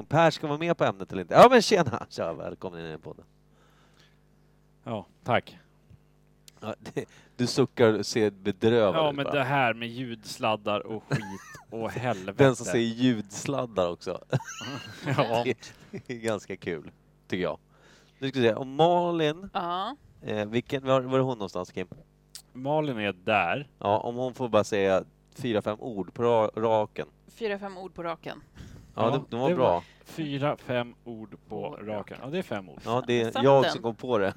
om Per ska vara med på ämnet eller inte. Ja men tjena! Tja, välkommen in i podden. Ja, tack. Ja, det, du suckar och ser bedrövad Ja, ut, men va? det här med ljudsladdar och skit och helvete. Den som säger ljudsladdar också. Ja, Det är ganska kul, tycker jag. Nu ska vi se, om Malin, Ja. eh, vilken, var, var är hon någonstans Kim? Malin är där. Ja, om hon får bara säga fyra, fem ord på ra- raken. Fyra, fem ord på raken. Ja, Ja, de, de var det var- bra. Fyra, fem ord på På raken. Ja, det är fem ord. Ja, det är Satt jag den? som kom på det.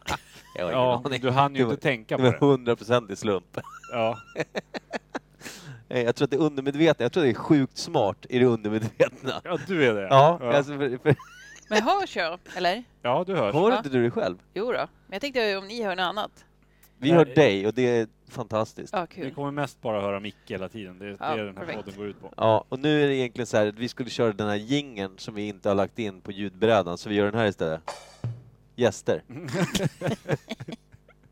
jag har ingen Ja, aning. du hann ju Det var- inte tänka Det på var det. 100 procent i slump. Ja, Eh, Jag tror att det är undermedvetna. Jag tror att det är sjukt smart i det undermedvetna. ja du är det. Ja, ja. Alltså, för, för, Men hörs jag? Eller? Ja, du hörs. hör inte du dig själv? Jo då. Men jag tänkte om ni hör något annat. Vi Nej. hör dig och det är fantastiskt. Ja, Vi kul. kommer mest bara höra Micke hela tiden. Det är Ja, det den här perfekt. podden går ut på. Ja, och nu är det egentligen så här att vi skulle köra den här jingeln som vi inte har lagt in på ljudbrädan, så vi gör den här istället. Gäster.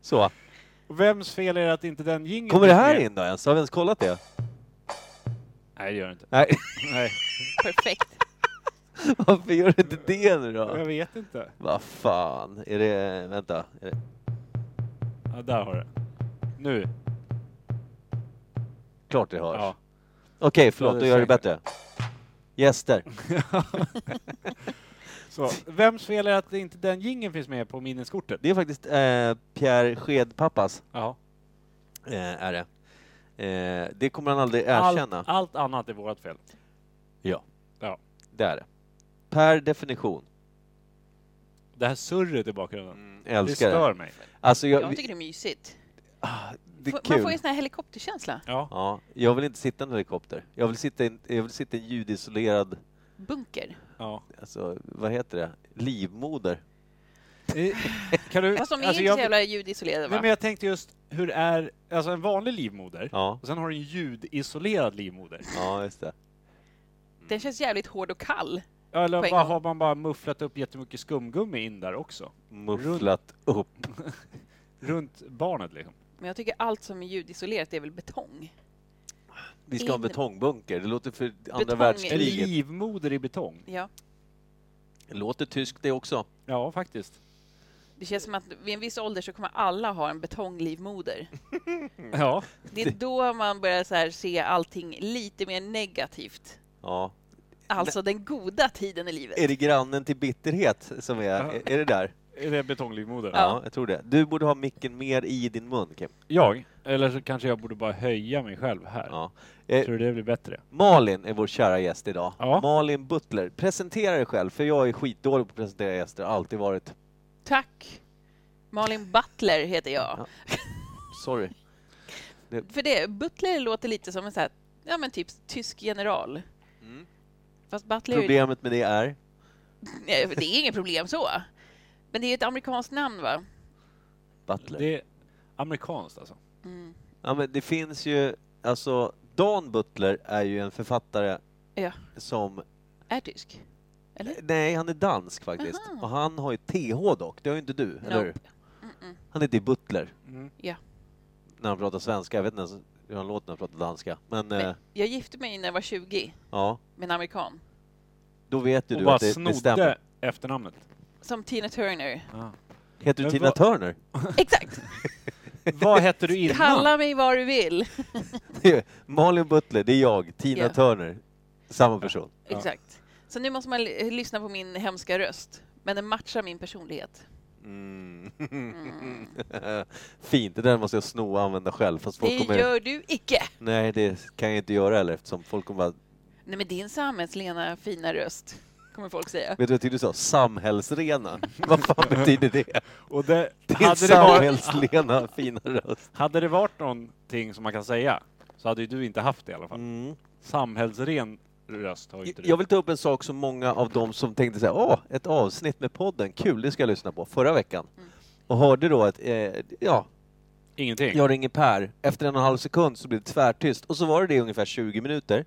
så. Och Vems fel är det att inte den jingeln Kommer det finns här med? in då ens? Har vi ens kollat det? Nej, det gör det inte. Nej, Nej, Perfekt. varför gör du inte det nu jag då? vet inte. Vad fan, är det... Vänta. Är det... Ja, där har du det. Nu. Klart det hörs. Ja. Okej, Ja, förlåt, då det är gör jag det säkert. bättre. Gäster. Så, vems fel är det att inte den jingeln finns med på minneskortet? Det är faktiskt eh, Pierre Skedpappas, Ja. eh, är det. Eh, det kommer han aldrig Allt, erkänna. allt annat är vårt fel. Det är det. Per definition. Det här surret i bakgrunden. Mm, det älskar det. stör mig. Alltså, jag, Jag tycker det är mysigt. ah, det är Får- Man kul. får ju sån här helikopterkänsla. Ja. Ja, jag vill inte sitta i en helikopter. Jag vill sitta i en, jag vill sitta i en ljudisolerad, Bunker. ja. alltså, vad heter det? Livmoder. Eh, Kan du, Fast de är alltså, inte jag, så jävla ljudisolerade va? Nej, men jag tänkte just, hur är alltså en vanlig livmoder? Ja, Och sen har du en ljudisolerad livmoder. ja just det. Den känns jävligt hård och kall. Ja, Eller På en bara, gång. har man bara mufflat upp jättemycket skumgummi in där också? Mufflat upp. Runt barnet liksom. Men jag tycker allt som är ljudisolerat är väl betong. Vi ska ha en In- betongbunker. Det låter för andra Betong- En världskriget. livmoder i betong. Ja. Det låter tyskt det också. Ja, faktiskt. Det känns som att vid en viss ålder så kommer alla ha en betonglivmoder. Mm. Ja. Det är då man börjar så här se allting lite mer negativt. Ja, Alltså den goda tiden i livet. Är det grannen till bitterhet som är, Ja. är det där? Är det betonglivmoder? Ja. jag tror det. Du borde ha micken mer i din mun, Kim. Jag? Eller så kanske jag borde bara höja mig själv här. Ja. Eh, Tror du det blir bättre? Malin är vår kära gäst idag. Ja. Malin Butler. Presentera dig själv, för jag är skitdålig på att presentera gäster, har alltid varit. Tack! Malin Butler heter jag. Ja. Sorry. För det, Butler låter lite som en så här, ja men typ tysk general. Mm. Fast Butler, Problemet med det är? nej, det är inget problem så. Men det är ett amerikanskt namn va? Butler. Det är amerikanskt alltså. Mm. Ja, men det finns ju, alltså, Dan Butler är ju en författare Ja. som, Är tysk? Eller? nej, han är dansk faktiskt. Aha. Och han har ju TH dock, det har ju inte du, eller hur? Nope. Mm-mm. Han heter ju Butler. Mm. Ja. när han pratar svenska. Jag vet inte ens hur han låter när han pratar danska. Men Nej. eh, Jag gifte mig när jag var 20 ja, med en amerikan. då vet ju Och du bara att det, det stämmer. snodde efternamnet. Som Tina Turner. Ah. Heter du Men Tina vad- Turner? Exakt! Vad hette du innan? Kalla mig vad du vill. Det är Malin Butler, det är jag. Tina Ja. Turner. Samma person. Ja. Exakt. Så nu måste man l- lyssna på min hemska röst. Men den matchar min personlighet. Mm. Mm. Fint, det där måste jag sno och använda själv. Fast folk Det kommer... gör du icke! Nej, det kan jag inte göra heller eftersom folk kommer bara... Nej men din sammetslena fina röst, kommer folk säga. Vet du vad jag tyckte du sa? Samhällsrena. Vad fan betyder det? Och det, Din hade, det varit, samhällsrena fina röst. hade det varit någonting som man kan säga så hade ju du inte haft det i alla fall. Mm. Samhällsren röst har ju inte du. Jag vill ta upp en sak som många av dem som tänkte säga, åh, ett avsnitt med podden, kul, det ska jag lyssna på, förra veckan. Mm. Och hörde då att, eh, ja, Ingenting. jag ringer Per. Efter en och en halv sekund så blev det tvärtyst. Och så var det det i ungefär 20 minuter.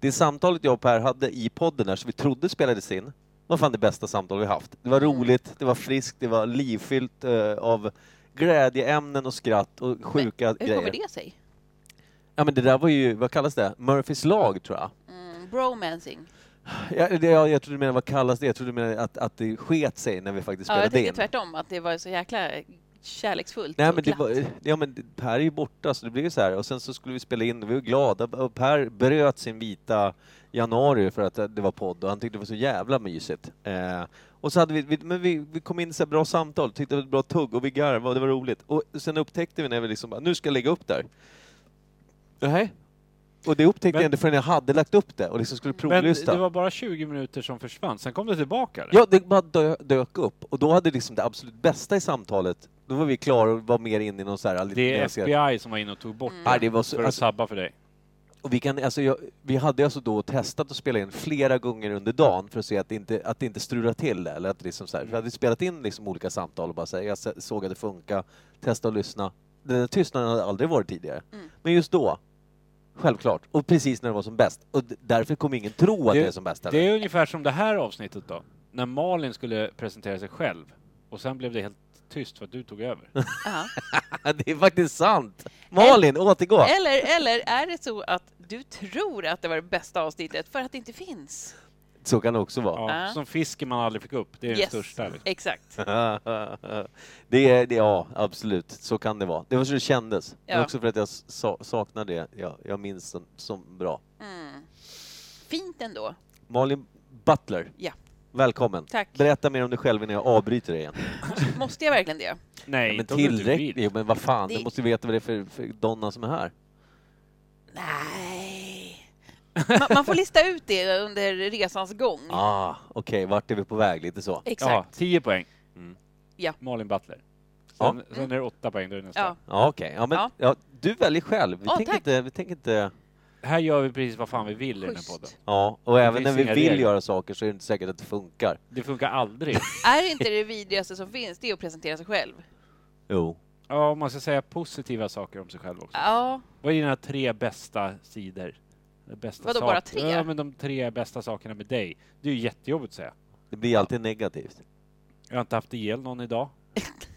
Det samtalet jag och Per hade i podden där, som vi trodde spelades in, var fan det bästa samtal vi haft. Det var Mm. roligt, det var friskt, det var livfyllt eh, av glädjeämnen och skratt och sjuka Hur grejer. kommer det sig? Ja men det där var ju, vad kallas det? Murphys lag tror jag. Mm, bromancing. Jag, det, jag, jag trodde du menade vad kallas det? Jag trodde du menade att, att det sket sig när vi faktiskt Ja, jag spelade in. tänker tvärtom, att det var så jäkla kärleksfullt Nej och men, det glatt. var, ja, men det- Per är ju borta så det blev ju så här och sen så skulle vi spela in, vi var glada och Per bröt sin vita januari för att det var podd och han tyckte det var så jävla mysigt. Eh, och så hade vi, vi, men vi, vi kom in i så här bra samtal, tyckte det var ett bra tugg och vi garvade och det var roligt. Och sen upptäckte vi när vi liksom bara, nu ska jag lägga upp där. Nej. Och det upptäckte Men- jag inte förrän jag hade lagt upp det och liksom skulle Men provlyssna. det var bara 20 minuter som försvann, sen kom det tillbaka? eller? Ja, det bara dö, dök upp och då hade liksom det absolut bästa i samtalet, då var vi klara och var mer inne i någon så här lite Det är nyanserad- FBI som var inne och tog bort Mm. Nej, det det var så, för att alltså, sabba för dig. och vi, kan, alltså, jag, vi hade alltså då testat att spela in flera gånger under dagen för att se att det inte, att det inte strular till. Eller att det liksom så här, Vi hade spelat in liksom olika samtal och bara så här, jag se- såg att det funkar, testa att lyssna. Den där tystnaden hade aldrig varit tidigare. Mm. Men just då, självklart, och precis när det var som bäst. Och d- därför kommer ingen tro att det, Det- är som bäst heller. Det är ungefär som det här avsnittet då, när Malin skulle presentera sig själv och sen blev det helt tyst för att du tog över. Ja. det är faktiskt sant! Malin, återgå! Eller, eller är det så att du tror att det var det bästa avsnittet för att det inte finns? Så kan det också vara. Ja, Ah. Som fisken man aldrig fick upp, det är den Yes. största. Liksom. Exakt. det är, det, ja, absolut. Så kan det vara. Det var så det kändes. Men Ja. också för att jag sa, saknar det. Jag, jag minns den som bra. Mm. Fint ändå. Malin Butler. Ja. Välkommen. Tack. Berätta mer om dig själv innan jag avbryter dig igen. Måste jag verkligen det? Nej, Ja, men inte om du inte tillräckligt. vill. Jo, men vad fan, Det- du måste ju veta vad det är för, för donna som är här. Nej. Man, man får lista ut det under resans gång. Ah, okej, vart är vi på väg? Lite så. Ja, Exakt. 10 poäng. Ja. Malin Butler. Mm. Ja. Mm. Sen, sen är det 8 poäng, då är det nästa. Ja. Ja, Ah, okej. Ja, men, Ja. ja. du väljer själv. Vi Ja, tänker tack. inte... Vi tänker inte Här gör vi precis vad fan vi vill i den här Schysst. podden. ja, och även finns när vi inga vill regler. göra saker så är det inte säkert att det funkar. Det funkar aldrig. Är inte det vidrigaste som finns det är att presentera sig själv? Jo. ja, man ska säga positiva saker om sig själv också. Ja, Vad är dina tre bästa sidor? De Bästa Vadå, saker- bara tre? Ja, men de tre bästa sakerna med dig. Det är ju jättejobbigt att säga. Det blir alltid negativt. Jag har inte haft ihjäl någon idag.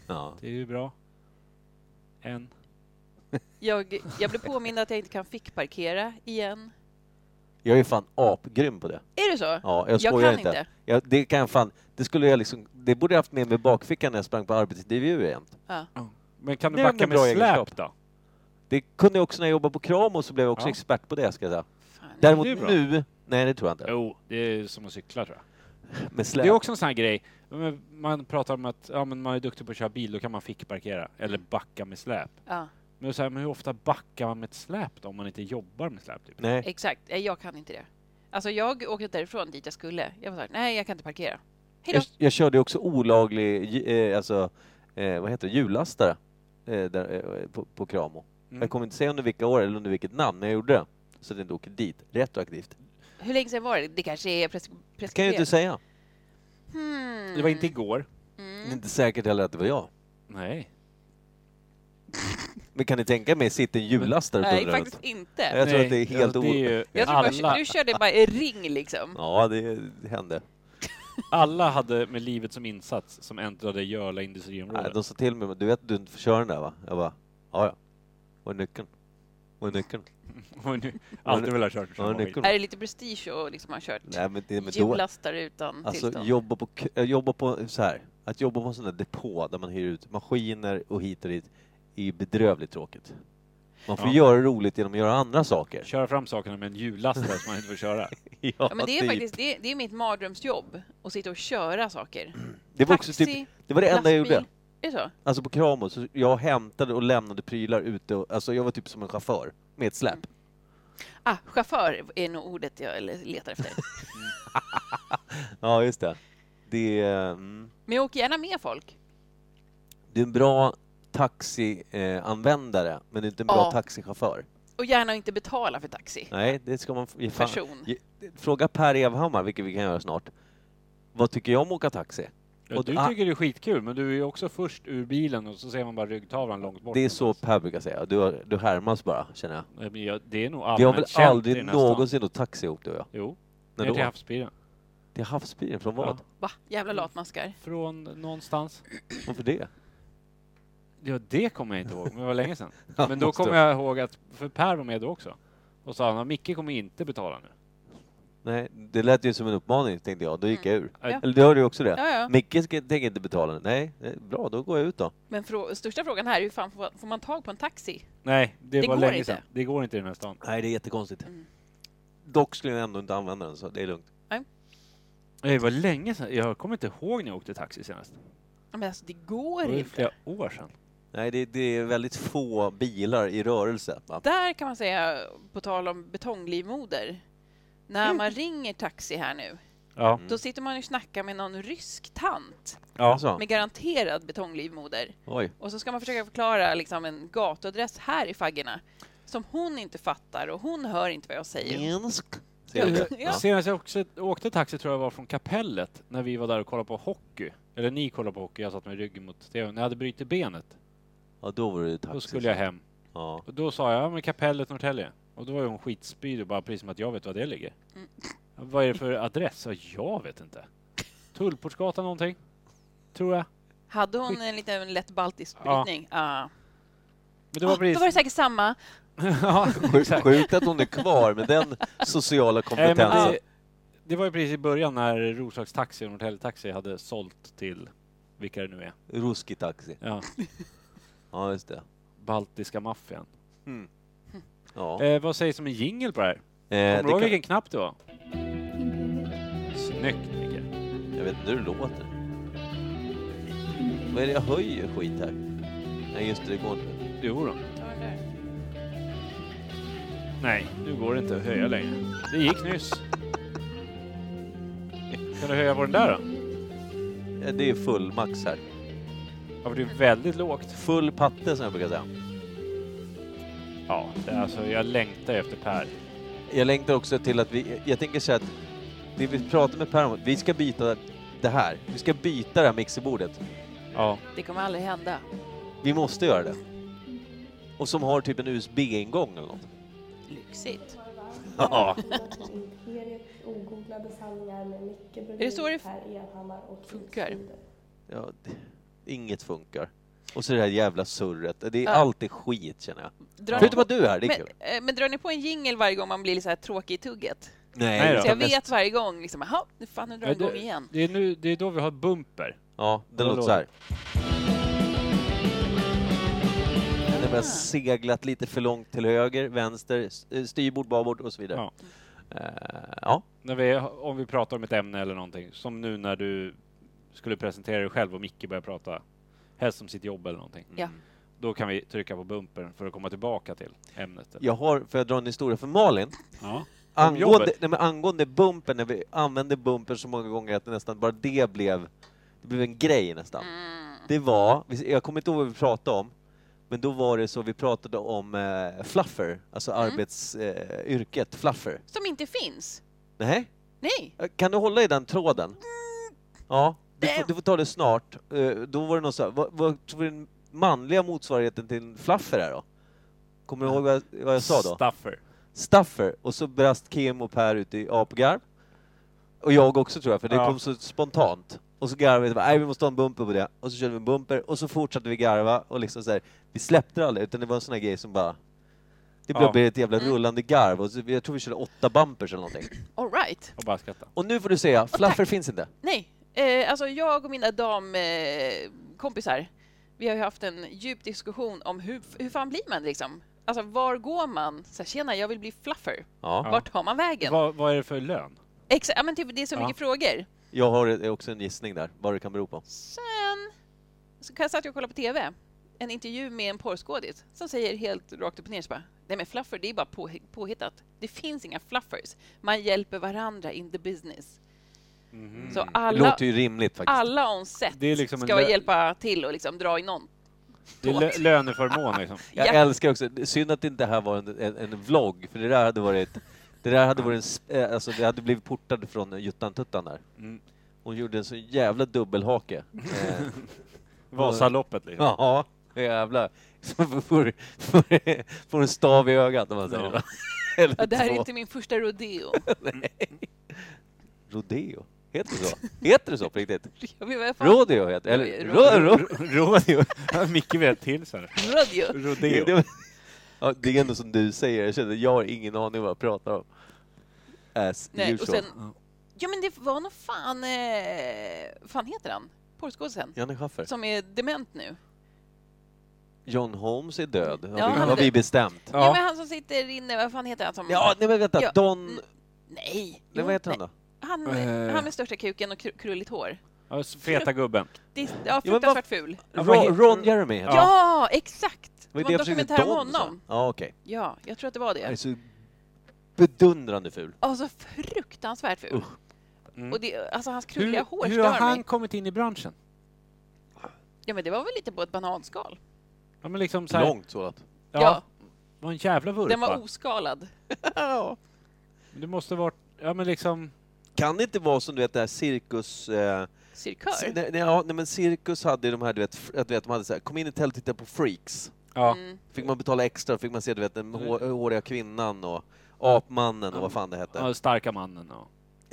Ja. Det är ju bra. En. jag, jag blev påmind att jag inte kan fickparkera igen. Jag är fan apgrym på det. Är det så? Ja, jag Jag skojar kan inte. inte. Jag, det kan jag fan, det skulle jag liksom, det borde jag haft med mig i bakfickan när jag sprang på arbetsintervjuer jämt. Men kan Det du är backa ändå med bra släp egenskap. då? Det kunde jag också när jag jobbade på Kramo så blev jag också Ja. expert på det ska jag säga. Fan. Däremot Det är bra. nu, nej det tror jag inte. Jo, det är som att cykla tror jag. Med Det är släp. också en sån här grej. Men Man pratar om att ja, men man är duktig på att köra bil, då kan man fickparkera. Eller Mm. backa med släp. Ja, Men, så här, men hur ofta backar man med ett släp då, om man inte jobbar med släp? Typ? Nej. exakt. Nej, Jag kan inte det. Alltså, jag åkte därifrån dit jag skulle. Jag var såhär, nej, jag kan inte parkera. Hej då. Jag, jag körde också olaglig, ju- eh, alltså, eh, vad heter det, hjullastare eh, där, eh, på, på Kramo. Mm. Jag kommer inte säga under vilka år eller under vilket namn, men jag gjorde det. Så att det inte åker dit, retroaktivt. Hur länge sedan var det? Det kanske är pres- Det kan jag ju inte preskriberat. säga. Hmm. Mm. Det var inte igår. Det är inte säkert heller att det var jag. Nej. Men kan ni tänka mig, sitter en hjullastare och Nej, dundrar runt? faktiskt inte. Jag tror Nej, att det är helt alltså, det är ju, Jag tror bara, alla, du körde bara i ring liksom. Ja, det hände. alla hade med livet som insats som äntrade Jörla Nej, industriområde. de sa till mig, du vet att du inte får köra den där va? Jag bara, ja ja. Var är nyckeln? Var är nyckeln? Har ni Alltid velat ha kört så Ja, många nyckeln. gånger. Är det lite prestige och liksom har kört Nej men det är med då. hjullastare utan Alltså tillstånd? jobba på, k- äh, jobba på så här. att jobba på en sån där depå där man hyr ut maskiner och hit och dit är ju bedrövligt tråkigt. Man får Ja. göra roligt genom att göra andra saker. Köra fram sakerna med en hjullastare som man inte får köra. ja, men det är typ. faktiskt det är, det är mitt mardrömsjobb, att sitta och köra saker. det var också Taxi, typ, det var det enda jag lastbil. gjorde. Är det så? Alltså på Kramo, så jag hämtade och lämnade prylar ute och, alltså jag var typ som en chaufför med ett släp. Mm. Ah, chaufför är nog ordet jag le- letar efter. Ja, just det. Det är... Mm. Men jag åker gärna med folk. Du är en bra taxianvändare, men du är inte en bra Ja. taxichaufför. Och gärna inte betala för taxi. Nej, det ska man f- ge fan. Person. Ge- Fråga Per Evhammar, vilket vi kan göra snart. Vad tycker jag om att åka taxi? Ja, Och du du- ah. tycker det är skitkul, men du är ju också först ur bilen och så ser man bara ryggtavlan långt bort. Det är så Per brukar säga. Du, har- du härmas bara, känner jag. Nej, men jag- Det är nog Vi har allmänt väl känt i aldrig den här stan. någonsin åkt taxi ihop, du och jag? Jo, När ner till då? havsbilen. Till havsbilen? Från vad? Mm. Va? Jävla latmaskar. Från någonstans. Varför det? Ja, det kommer jag inte ihåg, men det var länge sedan. Ja, Men då måste kommer du. jag ihåg att, för Per var med då också, och sa han att Micke kommer inte betala nu. Nej, det lät ju som en uppmaning tänkte jag. Då gick jag ur. Ja. Eller du hörde ju också det. Mm. Ja, ja. Micke ska- tänker inte betala. Nej, eh, bra då går jag ut då. Men frå- största frågan här är hur fan får, får man tag på en taxi? Nej, det, Det var går länge inte. sedan. Det går inte i den här stan. Nej, det är jättekonstigt. Mm. Dock skulle jag ändå inte använda den så det är lugnt. Nej, Det var länge sedan. Jag kommer inte ihåg när jag åkte taxi senast. Ja, Men alltså det Det går var ju inte. flera år sedan. Nej, det, det är väldigt få bilar i rörelse. Va? Där kan man säga, på tal om betonglivmoder, Mm. när man ringer taxi här nu, Ja. då sitter man ju och snackar med någon rysk tant ja. Alltså, med garanterad betonglivmoder. oj. Och så ska man försöka förklara liksom, en gatuadress här i faggorna som hon inte fattar och hon hör inte vad jag säger. Minsk. Ser du? Ja. Ja. Senast jag också åkte taxi tror jag var från kapellet när vi var där och kollade på hockey. Eller ni kollade på hockey, jag satt med ryggen mot tvn. När jag hade brutit benet, ja, då var det ju då taxi. skulle jag hem. Ja. Och då sa jag, ja men kapellet Norrtälje. Och då var ju hon skitspydig och bara precis som att jag vet var det ligger. Mm. Vad är det för adress? Ja, jag vet inte. Tullportsgatan någonting? Tror jag. Hade hon en liten lätt baltisk Ja. brytning? Ja. Men det Ah, var då precis... var det säkert samma. ja, Sjuk- Sjukt att hon är kvar med den sociala Nej, men kompetensen. det, det var ju precis i början när Roslags Taxi och Norrtälje Taxi hade sålt till vilka det nu är. Ruski taxi. Ja, Ja, just det. Baltiska maffian. Ja. Eh, vad sägs om en jingel på det här? Eh, Kommer du ihåg det vilken knapp det var? Imperial. Snyggt Micke. kan... Jag vet inte hur det låter. Vad är det jag höjer skit här? Nej, just det, det går inte. Jo då. Nej, nu går det inte att höja längre. Det gick nyss. Kan du höja på den där då? Ja, Eh, Det är full max här. Ja, för det är väldigt lågt. Full patte som jag brukar säga. Ja, det är alltså jag längtar efter Per. Jag längtar också till att vi... Jag tänker så här att det vi pratar med Per om, vi ska byta det här. Vi ska byta det här mixerbordet. Ja, Det kommer aldrig hända. Vi måste göra det. Och som har typ en USB-ingång eller något. Lyxigt. Ja. Imperiet ogooglade sanningar med Micke Brolin, det så det f- Per Evhammar och funkar? Ulf Sundell. ja det, inget funkar. Och så det här jävla surret. Det är Ja. alltid skit känner jag. Drar ni Förutom på, att du är här, det är men, kul. eh, men drar ni på en jingle varje gång man blir så här tråkig i tugget? Nej då. Så utan jag mest- vet varje gång liksom, jaha, nu fan nu drar Ja, den igång det- igen. det är, nu, det är då vi har bumper. Ja, den Vad låter så här. Den har seglat lite för långt till höger, vänster, s- eh, styrbord, babord och så vidare. Ja. Eh, ja. När vi, om vi pratar om ett ämne eller någonting. Som nu när du skulle presentera dig själv och Micke börjar prata. Helst om sitt jobb eller någonting. Ja. Då kan vi trycka på bumpern för att komma tillbaka till ämnet. Jag har, får jag dra en historia för Malin? Ja. Angående, jobbet. nej, men angående bumpen, när vi använde bumpen så många gånger att det nästan bara det blev, det blev en grej nästan. Mm. Det var, vi- jag kommer inte ihåg vad vi pratade om, men då var det så vi pratade om eh, fluffer, alltså arbetsyrket eh, yrket fluffer. Som inte finns. Nej, Nej. kan du hålla i den tråden? Ja, du får, du får ta det snart. Eh, då var det någon så här, vad, vad tror du den manliga motsvarigheten till en fluffer är då? Kommer du ihåg vad, jag- vad jag sa då? Staffer. Staffer. Och så brast Kim och Per ut i apgarv. Och jag också tror jag, för det Ja. kom så spontant. Och så garvade vi, nej vi måste ha en bumper på det. Och så körde vi en bumper och så fortsatte vi garva och liksom så här, vi släppte det aldrig utan det var en sån här grej som bara det Ja. blev ett jävla rullande garv och så, jag tror vi körde åtta bumpers eller någonting. All right. Och bara skratta. Och nu får du säga, fluffer finns inte. Nej. Eh, alltså jag och mina damkompisar, eh, kompisar, vi har ju haft en djup diskussion om hur, hur fan blir man liksom? Alltså var går man? Så här, Tjena, jag vill bli fluffer. Ja. Vart tar man vägen? Vad, vad är det för lön? Exa- ja, men typ, det är så Ja. mycket frågor. Jag har eh, också en gissning där, vad det kan bero på. Sen så kan jag satt jag och kollade på TV, en intervju med en porrskådis som säger helt rakt upp och ner så bara, nej men fluffer det är bara på, påhittat. Det finns inga fluffers. Man hjälper varandra in the business. Så Mhm. Det alla, låter ju rimligt faktiskt. alla on set Det är liksom en ska lö- hjälpa till och liksom dra i någon. Det är lö löneförmån liksom. Jag Ja. älskar också, det är synd att det inte här var en, en, en vlogg, för det där hade varit... Det där hade varit en... sp- eh, Alltså, vi hade blivit portade från Juttan-Tuttan där. Mm. Hon gjorde en så jävla dubbelhake. Eh, Vasaloppet liksom. ja, jävlar. Så får, får, får en stav i ögat om man säger Ja. Mm. va? Eller Ja, det här är två. inte min första rodeo. Rodeo? Heter det så? Heter det så på riktigt? Jag vet vad fan- Rodeo heter Eller Rodeo. ro, ro, Rodeo. Micke vet till så här. Rodeo. Rodeo. det, ja, det är ändå som du säger, jag känner jag har ingen aning vad jag pratar om. as Nej, och usual. sen, ja men det var nog fan, eh, fan heter han? Porrskådisen? Janne Schaffer. Som är dement nu. John Holmes är död, har, Ja, vi, han är har vi död. bestämt. Ja. men han som sitter inne, vad fan heter han som... Ja, nej men vänta, Ja. Don... Mm. nej! Nej, Jo, vad heter han nej. då? Han, Eh. han med största kuken och kru- krulligt hår. Ja, s- feta gubben. Det är, ja, men vad- fruktansvärt ful. Ja, vad Ron, heter- Ron Jeremy heter Ja, han. exakt! Det Vad var en är det jag försökte- dokumentär om Don, sa jag. honom. Ja, okej. Ja, jag tror att det var Han är det. så bedundrande ful. Alltså fruktansvärt ful. Usch. Mm. Och det, alltså hans krulliga hår Hur, hur stör har han mig. kommit in i branschen? Ja, men det var väl lite på ett bananskal. Ja, men liksom så här, Långt sådant. Ja, Ja. Det var en jävla vurpa. Den var oskalad. ja. Men Det måste varit... Ja, men liksom... Kan det inte vara som du vet det här cirkus... Eh, Cirkör. nej, nej, ja, nej men cirkus hade ju de här du vet, fr- du vet de hade så här, kom in i tält och titta på freaks. Ja. Mm. Fick man betala extra, fick man se du vet den hår, håriga kvinnan och apmannen och vad fan det hette. Mm. Ja, starka mannen och...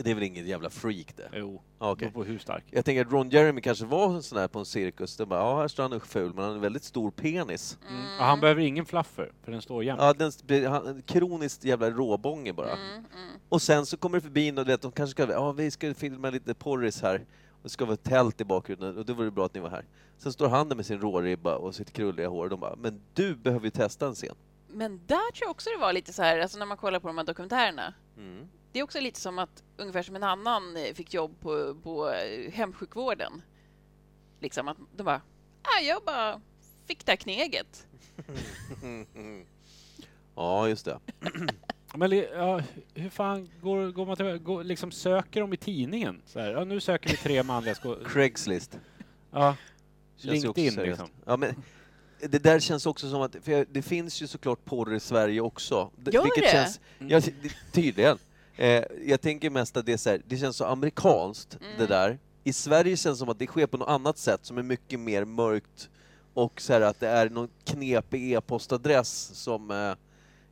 Det är väl inget jävla freak det? Jo. Ja, Okay. okej. på hur stark. Jag tänker att Ron Jeremy kanske var en sån där på en cirkus, där bara ja, här står han och är ful, men han har en väldigt stor penis. Mm. Och han behöver ingen fluffer, för den står jämnt. Ja, den blir han, kroniskt jävla råbånge bara. Mm, mm. Och sen så kommer det förbi och du vet, de kanske ska, ja vi ska filma lite porris här, och det ska vara ett tält i bakgrunden, och då vore det bra att ni var här. Sen står han där med sin råribba och sitt krulliga hår, och de bara, men du behöver ju testa en scen. Men där tror jag också det var lite så här, alltså när man kollar på de här dokumentärerna. Mm. Det är också lite som att, ungefär som en annan eh, fick jobb på, på eh, hemsjukvården. Liksom att de bara, ah, jag bara fick det här kneget. Mm. Ja, just det. Men li- ja, hur fan går, går man tillväga? Går, liksom söker de i tidningen? Så här, ja, nu söker vi tre manliga skådespelare. Craigslist. Ja. Känns ju också LinkedIn, seriöst. liksom. Ja, men det där känns också som att, för jag- det finns ju såklart porr i Sverige också. D- Gör det? Mm. Känns, jag, det- tydligen. Eh, jag tänker mest att det är så här, det känns så amerikanskt Mm. det där. I Sverige känns det som att det sker på något annat sätt som är mycket mer mörkt och så här att det är någon knepig e-postadress som, eh,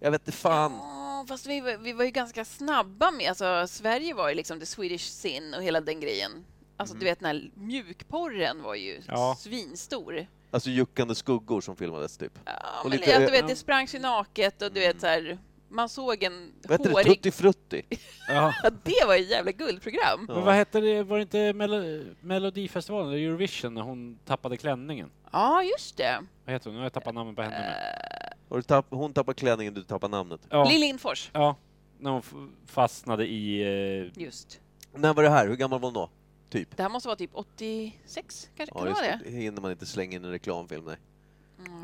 jag vet inte fan. Ja, fast vi, var- vi var ju ganska snabba med, alltså Sverige var ju liksom the Swedish sin och hela den grejen. Alltså Mm. du vet den här mjukporren var ju Ja. svinstor. Alltså juckande skuggor som filmades typ. Ja, Och men lite- Mm. att du vet, ja. det sprang sig naket och du vet så här, man såg en Vad heter det? hårig... Tutti Frutti? Ja. Ja, det var ju ett jävla guldprogram. Ja. Men vad hette det, var det inte Melo- Melodifestivalen, eller Eurovision, när hon tappade klänningen? Ja, just det. Vad heter hon? Nu har jag tappat namnet på henne Eh, med. Och du tapp, hon tappar klänningen, du tappar namnet. Ja, Lill Lindfors. ja när hon f- fastnade i... Eh, Just. När var det här? Hur gammal var hon då? Typ? Det här måste vara typ 86, kanske? Ja, kan det just vara det. det? det hinner man inte slänga in en reklamfilm, nej.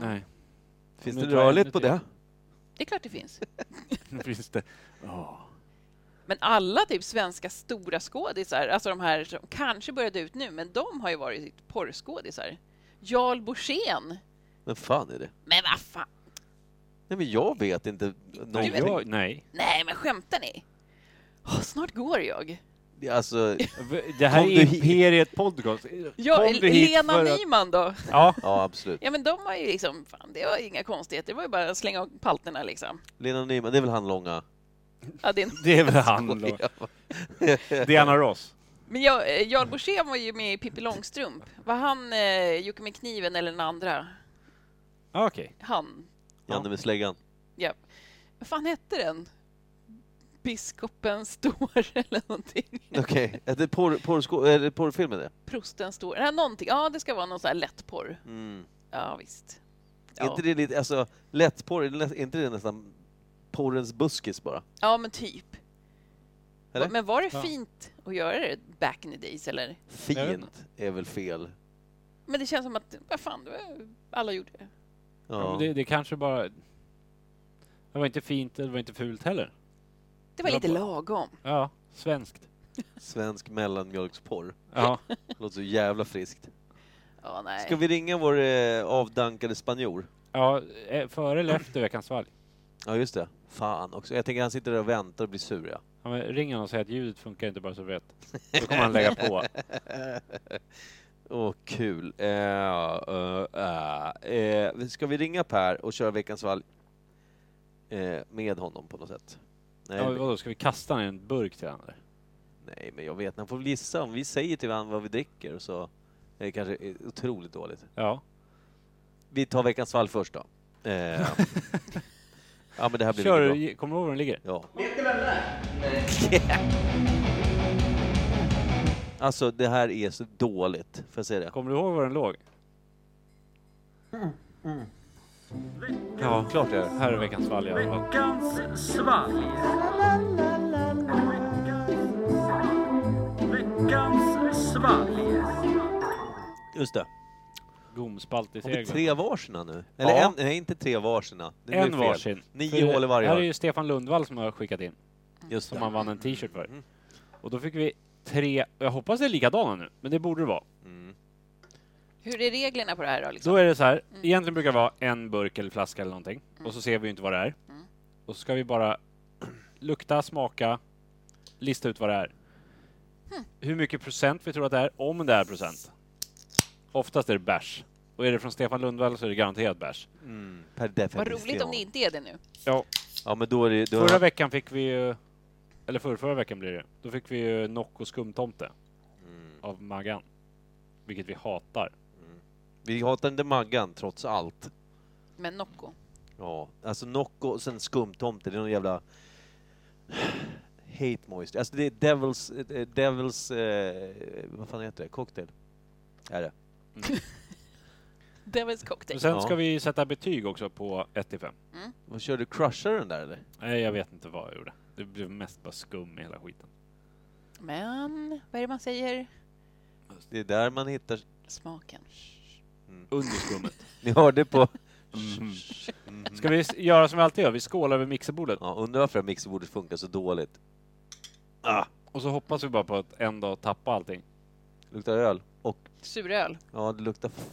nej, Finns Nu det tar jag rörligt ämnet på det? Det är klart det finns. nu finns det. Ja. Men alla typ svenska stora skådisar, alltså de här som kanske började ut nu, men de har ju varit porrskådisar. Jarl Borssén! Men fan är det? Men vad fan! Nej men jag vet inte Nej, någonting. jag, nej. Nej, men skämtar ni? Åh, snart går jag. Det är Alltså, Det här Kom är du hit? Imperiet Podcast. Ja, Kom du hit Lena för att- Nyman då? Ja, ja absolut. Ja, men de har ju liksom, fan, det var inga konstigheter, det var ju bara att slänga av palterna liksom. Lena Nyman, det är väl han långa? Ja, det är en det är väl han då. Diana Ross. Men jag, eh, Jarl Borssén var ju med i Pippi Långstrump. Var han eh, Jocke med kniven eller den andra? Ah, Okej. Han. Janne med släggan. Ja. Vad fan hette den? Biskopen står eller någonting. Okej, är det porr, porrsko- är det porrfilmen det? Prosten står. Nej, någonting. Ja, det ska vara någon sån här lättporr. Mm. Ja, visst. Är Ja. inte det lite, alltså lättporr, är det nä- är inte det nästan porrens buskis bara? ja, men typ. Eller? Men var det Ja. fint att göra det back in the days eller? Jag vet Fint är väl fel? Men det känns som att, vad fan, det var- alla gjorde det. Ja, Ja. men Det, det kanske bara... Det var inte fint, det var inte fult heller. Det var Det var lite bra. lagom. Ja, svenskt. Svensk mellanmjölksporr. Ja. Låter så jävla friskt. Ja, nej. Ska vi ringa vår eh, avdankade spanjor? ja, eh, före eller efter veckans valg. Ja just det. Fan också. Jag tänker han sitter där och väntar och blir sur ja. Ja, men ring honom och säg att ljudet funkar inte bara så rätt. Då kommer han lägga på. Åh, kul. Eh, eh, eh, eh, ska vi ringa Per och köra Veckans val eh, med honom på något sätt? Nej, Ja, men vadå, ska vi kasta ner en burk till honom? eller? nej men jag vet, han får väl gissa. Om vi säger till varandra vad vi dricker så är det kanske är otroligt dåligt. Ja. Vi tar Veckans val först då. Eh, ja, men det här blir mycket Kör, bra. ge- kommer du ihåg var den ligger? Ja. Vet ni vem det är? Alltså det här är så dåligt, får jag säga det? Kommer du ihåg var den låg? Ja, klart det är. Här är veckans valg i alla fall. Veckans svalg. Veckans svalg. Just det. Gomspalt i Har vi seglen. tre varsina nu? Eller Ja. en, nej inte tre varsina. Det blir En fel. varsin. Nio För hål i varje Här är ju hörn. Stefan Lundvall som har skickat in, Just som det. han vann en t-shirt för. Mm. Och då fick vi tre, jag hoppas det är likadana nu, men det borde det vara. Mm. Hur är reglerna på det här då? Liksom? Då är det så här, egentligen brukar det vara en burk eller flaska eller någonting, och så ser vi ju inte vad det är. Mm. Och så ska vi bara lukta, smaka, lista ut vad det är. Hur mycket procent vi tror att det är, om det är procent. Oftast är det bärs. Och är det från Stefan Lundvall så är det garanterat bärs. Mm. Per Vad definition. roligt om det inte är det nu. Ja, Ja, men då är det... Då Förra veckan fick vi ju, eller förra, förra veckan blir det, då fick vi ju Nocco skumtomte Mm. av Maggan. Vilket vi hatar. Vi hatar inte Maggan, trots allt. Men Nocco. Ja, alltså Nocco och sen skumtomte, det är någon jävla... Hate moist. Alltså det är Devils... eh, Devils... Eh, vad fan heter det? Cocktail? Är det? Devil's Men cocktail. sen Ja. ska vi sätta betyg också på 1 till 5. Vad kör du? Crushar den där eller? Nej, jag vet inte vad jag gjorde. Det blev mest bara skum i hela skiten. Men vad är det man säger? Det är där man hittar... Smaken. Under skummet. Mm-hmm. Ni hörde på... Mm. Ska vi s- göra som vi alltid gör? Vi skålar vid mixerbordet Ja, undrar varför det här mixerbordet funkar så dåligt. Ah, och så hoppas vi bara på att en dag tappa allting. luktar öl. Och Suröl. ja, det luktar... f-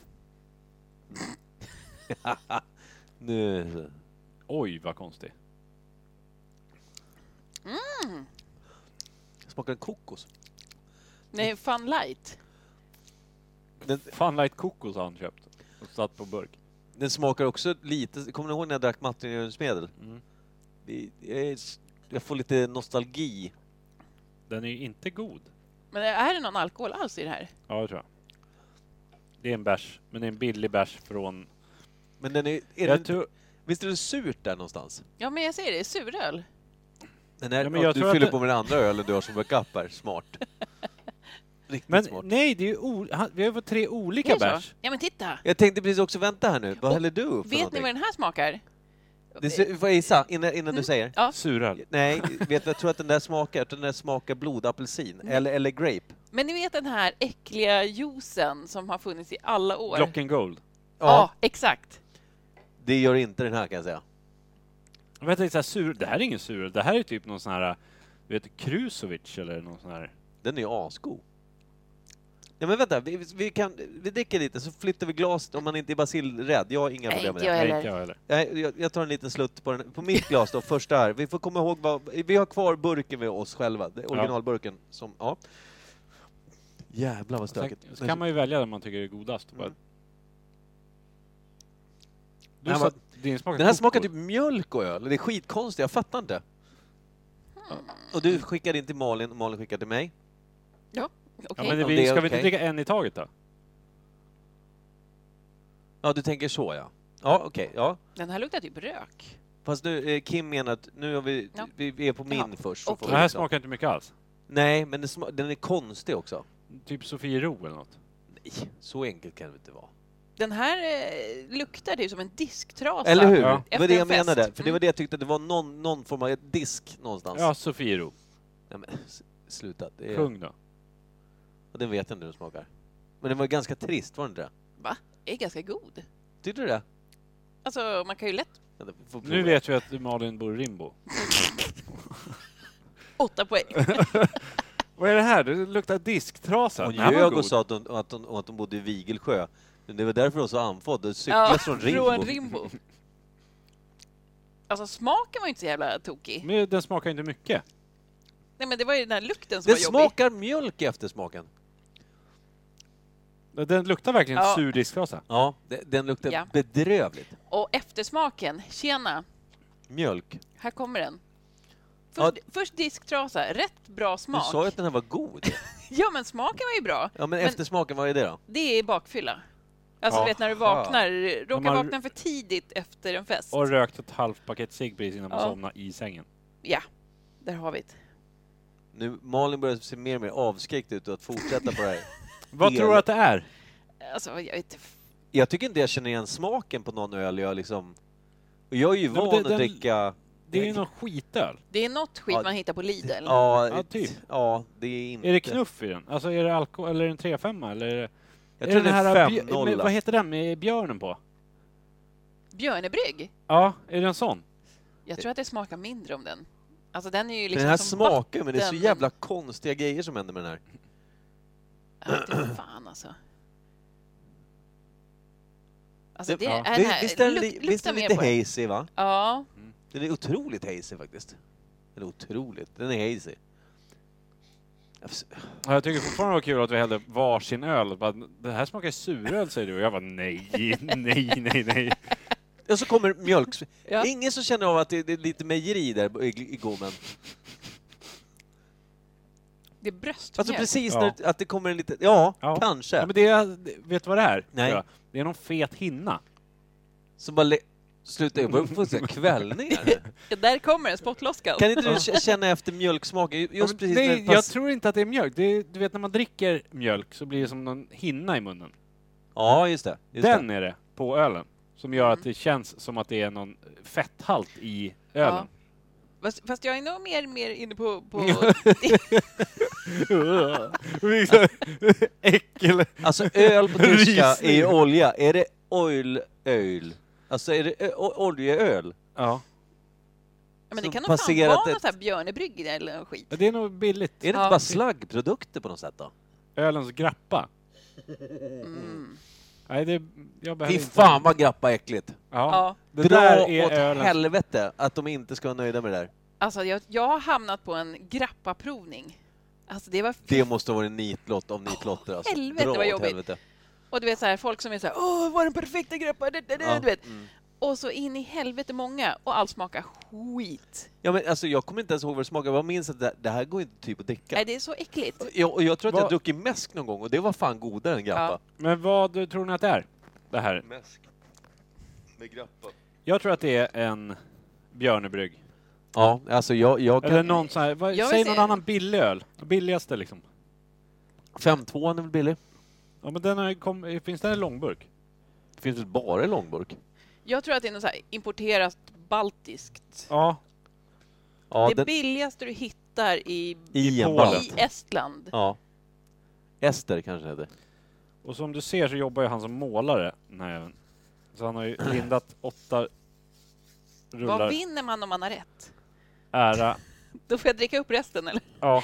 Mm. nu... Oj, vad konstigt. Smakar den kokos? Nej, Fun Light. Den, Funlight kokos har han köpt och satt på burk. den smakar också lite... Kommer ni ihåg när jag drack mattingöringsmedel? Mm. Det- Jag, är s- jag får lite nostalgi. Den är ju inte god. Men är det någon alkohol alls i det här? Ja, det tror jag. Det är en bärs, men det är en billig bärs från... Men den är... är Jag den, tror, Visst är det surt där någonstans? Ja, men jag säger det. Suröl. Den här, Ja, men ja, jag tror du att fyller det- på med den andra ölen du har som backup här. Smart. Riktigt Men smart. nej, det är ju o- han, vi har ju fått tre olika Är det så? bärs. Ja, men titta! Jag tänkte precis också, vänta här nu, vad Och häller du upp för Vet ni Mm. någonting? vad den här smakar? Det ser, får jag gissa, innan, innan du säger? Ja, Suröl. Nej, vet du, vad jag tror att den där smakar, jag tror den där smakar blodapelsin, Mm. eller, eller grape. men ni vet den här äckliga juicen som har funnits i alla år? Block and Gold. Ja, exakt. Det gör inte den här kan jag säga. Men jag tänkte så här, sur, det här är ingen suröl, det här är typ någon sån här, du vet, Krusovic eller någon sån här. Den är ju asgod. Ja men vänta, vi, vi, kan, vi dricker lite så flyttar vi glaset om man inte är basilrädd. Jag har inga Nej, problem med inte det. Nej, jag. Eller- inte jag heller. Nej, Jag, jag tar en liten slutt på, den, på mitt glas då, första här. Vi får komma ihåg vad, vi har kvar burken med oss själva, det- originalburken. Som, ja. Jävlar vad Sen, stökigt. så kan man ju välja den man tycker är Mm. godast. Bara. Du Den sa var- att din smakar Den här kokos. smakar typ mjölk och öl. Det är skitkonstigt, jag fattar inte. Och du skickade in till Malin och Malin skickade till mig. Ja, okej. Ja, men det, om vi, det är ska vi inte okej. dricka en i taget då? Ja, du tänker så ja. Ja, okej. ja. Den här luktar typ rök. Fast nu, eh, Kim menar att nu har vi, Ja. vi, vi är på min Jaha, först. så okej. får vi Den här liksom- smakar inte mycket alls. Nej, men den, sma- den är konstig också. Typ Sofiero eller något. Nej, så enkelt kan det inte vara. Den här eh, luktar typ som en disktrasa. Eller hur? Ja. Det var det jag Efter en fest. menade. För det var Mm. det jag tyckte, att det var någon, någon form av disk någonstans. Ja, Sofiero. Nej, men, s- sluta. Det, är, Sjung då. och det vet jag inte hur den smakar. Men den var ganska trist, var den inte det? Va? Det är ganska god. Tyckte du det? Alltså, man kan ju lätt... Ja, det- vi får Nu prova. vet vi att Malin bor i Rimbo. Åtta poäng. Vad är det här? Det luktar disktrasa. Hon Den här var ljög god. och sa att hon, att, hon, att hon bodde i Vigelsjö. Men det var därför hon var så andfådd. Hon cyklade Ja, från Rimbo. Från Rimbo. Alltså smaken var ju inte så jävla tokig. Men den smakar inte mycket. Nej men det var ju den här lukten som Det var jobbig. smakar mjölk i eftersmaken. Den luktar verkligen Ja. sur disktrasa. Ja, de- den luktar Ja. bedrövligt. Och eftersmaken, tjena, Mjölk. här kommer den. Ja. Först, först disktrasa, rätt bra smak. Du sa ju att den här var god. Ja men smaken var ju bra. Ja, men, Men- eftersmaken, vad är det då? Det är bakfylla. Alltså Ja. du vet när du vaknar, råkar man- vakna för tidigt efter en fest. Och rökt ett halvt paket cigg precis innan man Ja. somnade i sängen. Ja, där har vi det. Nu, Malin börjar se mer och mer avskräckt ut att fortsätta på det här. Vad tror du att det är? Alltså, jag vet inte. Jag tycker inte jag känner igen smaken på någon öl jag liksom... Och jag är ju Nej, men van det- att den- dricka... Det är ju någon skitöl. Det är något skit Ja, man hittar på Lidl. Ja, Ja, ett- typ. ja, det är inte... Är det knuff i den? Alltså är det alkohol eller är det en 3-5 eller? Är det, Mm, Jag är tror det det den är alltså. bjö- med- 5-0. Vad heter den med björnen på? Björnebrygg? Ja, är det en sån? Jag tror att det smakar mindre om den. Alltså den är ju liksom Den här som smaken, men det är så vatten. Äh, jävla konstiga grejer som händer med den här. Ja, inte fan alltså. Alltså det, Den- är den Visst- här, Visst är den luk, li- luktar visst är den mer lite på den. hazy, va? Ja, Den är otroligt hazy faktiskt. Den är otroligt. Den är hazy. Jag förs- Ja, jag tycker fortfarande det var kul att vi hällde varsin öl. Bara, Det här smakar suröl säger du och jag var nej, nej, nej, nej. Och så kommer mjölk. Ja. Ingen som känner av att det det är lite mejeri där i i gommen. det är bröstmjölk. Alltså precis Ja. när att det kommer en liten... Ja, Ja. kanske. Ja, men det är, vet du vad det är? Nej. tror jag? Det är någon fet hinna. Som bara... le- Sluta, jag börjar få så här kvällningar. Ja, Där kommer den, spottloska. Kan inte du k- känna efter mjölksmaken? Ju- Ja, Just men precis när nej, det jag pass... tror inte att det är mjölk. Det är, du vet när man dricker mjölk så blir det som någon hinna i munnen. Ja, just det. Just Den det. Mm. är det, på ölen. Som gör att det känns som att det är någon fetthalt i ölen. Fast, fast jag är nog mer, mer inne på... på Äckel! Alltså öl på tyska är ju Rysning. olja. Är det oil, öl? Alltså är det ö- o- oljeöl? Ja, Ja, men det Som kan nog fan passerat vara ett- något så här björnebrygg i det eller någon skit. det är nog billigt. Är det inte Ja. bara slaggprodukter på något sätt då? Ölens grappa. Nej, det, jag behöver Mm. Fy inte. fan vad grappa äckligt! Ja. Ja. Det Dra där är åt ölen. helvete att de inte ska vara nöjda med det där. Alltså jag, jag har hamnat på en grappaprovning. Alltså det var... Det måste vara en nitlott av nitlotter alltså. helvete, Dra vad åt jobbigt. helvete. Och du vet så här, folk som är så här, åh, var den perfekta grappa? Du, du, du, Ja, Mm. du vet. Och så in i helvete många och allt smakar skit. Ja, men alltså, jag kommer inte ens ihåg vad det smakade, jag minns att det, det här går inte typ att dricka. Nej, det är så äckligt. Jag, och jag tror att Vad- jag druckit mäsk någon gång och det var fan godare än grappa. Men vad tror ni att det är? Det här. Mäsk. Med grappa. Jag tror att det är en björnebrygg. Ja, alltså jag, jag Eller kan... någon sån här, vad, Jag vill säg se- någon annan billig öl. Billigaste liksom. 5-2 är väl billig? Ja men den här kom, finns den i långburk? Finns väl bara i långburk? Jag tror att det är något så här importerat baltiskt. Ja. Ja, det den- billigaste du hittar i, I en Polen. ballast. i Estland. Ja. Ester kanske det heter. Och som du ser så jobbar ju han som målare, den här även. Så han har ju lindat åtta Vad rullar vinner man om man har rätt? ära. Då får jag dricka upp resten eller? Ja.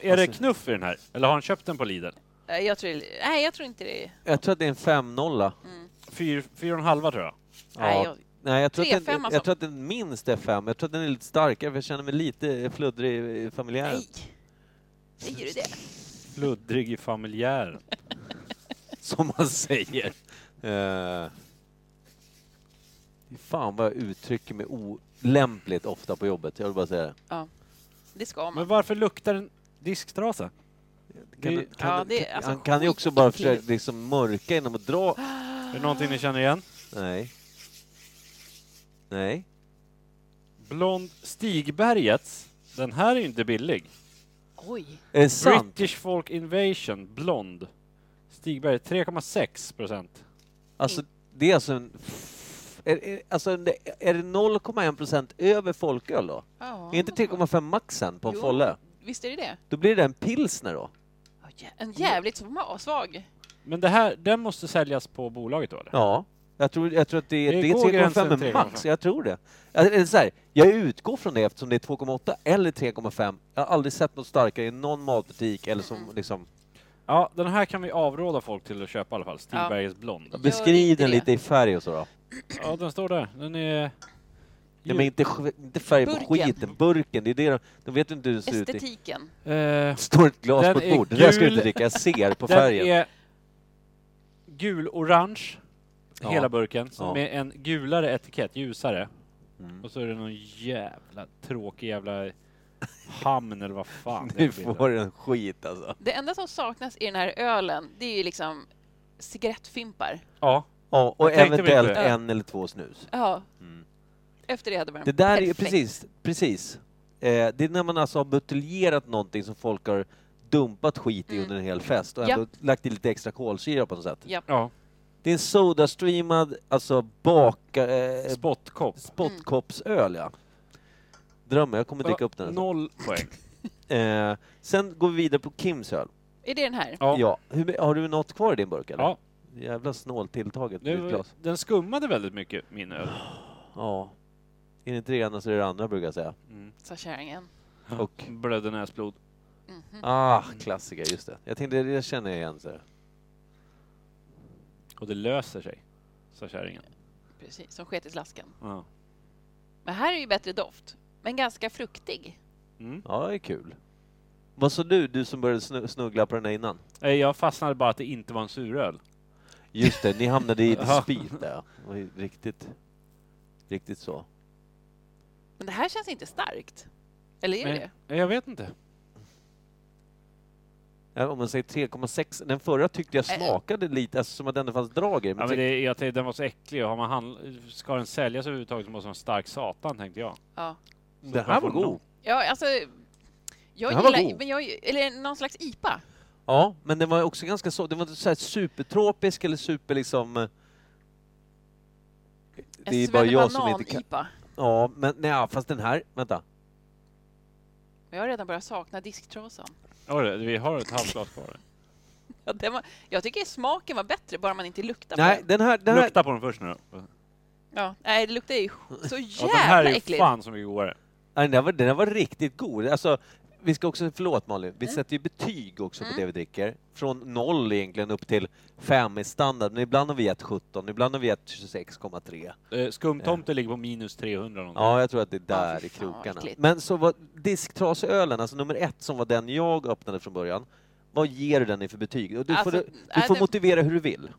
är det Alltså- knuff i den här? Eller har han köpt den på Lidl? Nej, Eh, Jag tror, nej, jag tror inte det. är- Jag tror att det är en 5-0. Fyra, fyra och en halva tror jag. Mm. Nej, Ja. jag, Nej, jag tror, att den, 3-5 alltså. jag tror att den minst är fem. Jag tror att den är lite starkare, för jag känner mig lite eh, fluddrig eh, familjär. nej. Säger du det? Fluddrig i familjären. Som man säger. Eh, Fy fan vad jag uttrycker mig olämpligt ofta på jobbet. Jag vill bara säga det. Ja, det ska Men man. varför luktar den disktrasa? Kan, Det- du- kan, ja, du- det är kan- alltså han kan ju också skitäckligt. bara försöka liksom mörka genom att dra... Är det någonting ni känner igen? Nej. Nej. Blond Stigbergets. Den här är ju inte billig. Oj. Är det Eh, sant? British Folk Invasion Blond. Stigberg 3,6 procent. Alltså, Mm. det är alltså en... f- Är, är, alltså, en- är det 0,1 procent över folköl då? Ja. Är inte 3,5 maxen på en Jo, folle? Visst är det det? Då blir det en pilsner då? Ja, jä- En jävligt sma- svag. Men det här, den måste säljas på bolaget då eller? Ja. Jag tror, jag tror att det, Det det är går gränsen 3,5 är 3,5. max, jag tror det. Alltså, eller så här, jag utgår från det eftersom det är 2,8 eller 3,5. Jag har aldrig sett något starkare i någon matbutik eller Mm. som liksom... Ja, den här kan vi avråda folk till att köpa i alla fall. Stigbergets Blond. Beskriv inte den det. lite i färg och så då. Ja, den står där. Den är... Nej, men inte, sk- inte färg på Burken. skiten, burken. Det är det de, de vet inte hur den ser ut i. Estetiken. Eh, Står ett glas Den på ett är bord. Det där ska du gul. inte dricka, jag ser på den färgen. är gul-orange, Ja. hela burken, så Ja. med en gulare etikett, ljusare. Mm. Och så är det någon jävla tråkig jävla hamn eller vad fan det är Nu för får den skit alltså. Det enda som saknas i den här ölen, det är ju liksom cigarettfimpar. Ja, Ja, och Jag tänkte väl eventuellt på det. en eller två snus. Ja. Efter det hade varit Mm. Det där är perfekt. precis, precis. Eh, det är när man alltså har buteljerat någonting som folk har dumpat skit i Mm. under en hel fest och Ja. ändå lagt i lite extra kolsyra på något sätt. Ja. Ja, Det är en sodastreamad, alltså baka... Eh, spottkopp. spottkoppsöl, ja. Drömmer, jag kommer dricka upp den. här sen. Noll poäng. Eh, sen går vi vidare på Kims öl. Är det den här? Ja. Ja. Hur, har du något kvar i din burk eller? Ja, Jävla snålt tilltaget med ditt nu, glas. den skummade väldigt mycket, min öl. Ja. Är det inte det ena så är det det andra brukar jag säga. Sa kärringen. Mhm, Och, Blödde Mm. näsblod. ah, klassiker, just det. Jag tänkte, det känner jag igen. Så. här. Och det löser sig, sa kärringen. Precis, som sket i slasken. Ja. Men här är ju bättre doft. Men ganska fruktig. Mm. Ja, det är kul. Vad sa du, du som började snu- snuggla på den här innan? Nej, Jag fastnade bara att det inte var en suröl. Just det, ni hamnade i Ja. dispyt där. ja. Det var ju Riktigt, riktigt så. Men det här känns inte starkt. Eller är det Nej, Jag vet inte. Ja, Om man säger 3,6. Den förra tyckte jag smakade lite, alltså som att det ändå fanns drag i den, Ja, men men tänk- det, jag tänkte, den var så äcklig. Och har man handl- ska den säljas överhuvudtaget så måste den vara stark satan, tänkte jag. Ja. det, Så här man var får god. nog. Ja, alltså... Jag Den här var gillar... god. Men jag, eller någon slags IPA. Ja, men den var också ganska så, den var så här supertropisk eller super liksom... eh, Det är bara jag som inte kan... ipa Ja, men nej, fast den här, vänta. Jag har redan börjat sakna disktrasan. Ja, det- vi har ett halvt glas kvar. Ja, den var, jag tycker smaken var bättre, bara man inte luktar Nej, på den. den här, den här, Lukta på den först nu då. Ja, nej, det luktar ju så Ja, den här jävla är ju äckligt. fan så mycket godare. nej, den här, var, den här var riktigt god. Alltså, vi ska också, förlåt Malin, Mm. vi sätter ju betyg också på det vi dricker. Från noll egentligen upp till fem i standard, men ibland har vi gett 17, ibland har vi gett 26,3. Eh, Skumtomte ligger på minus 300 någonting. Ja, jag tror att det är där Mm. Ja, fy i fan, vad krokarna. äckligt. Men så var disktrasölen, alltså nummer ett som var den jag öppnade från början, vad ger du den i för betyg? Och Du Alltså, får, du nej, får det- motivera hur du vill.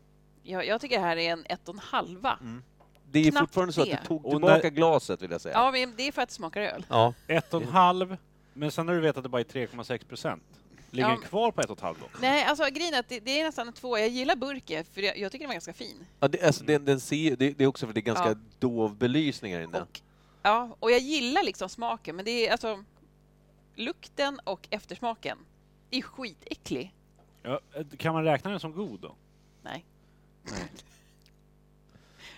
Jag, jag tycker det här är en ett och en halva. Mm. Det är ju Knappt fortfarande så att du det. tog Och tillbaka när- glaset vill jag säga. Ja, men det är för att det smakar öl. Ja. Ett och en halv, men sen när du vet att det bara är 3,6 procent, ligger Ja, den men- kvar på ett och ett halvt då? Nej, alltså grejen är att det, det är nästan en två. Jag gillar burken, för jag, jag tycker den var ganska fin. Ja, det, alltså, den, den ser, ju- det, det är också för att det är ganska Ja. dov belysning här inne. Och, ja, och jag gillar liksom smaken, men det är alltså lukten och eftersmaken. Det är skitäcklig. Ja, eh, kan man räkna den som god då? Nej.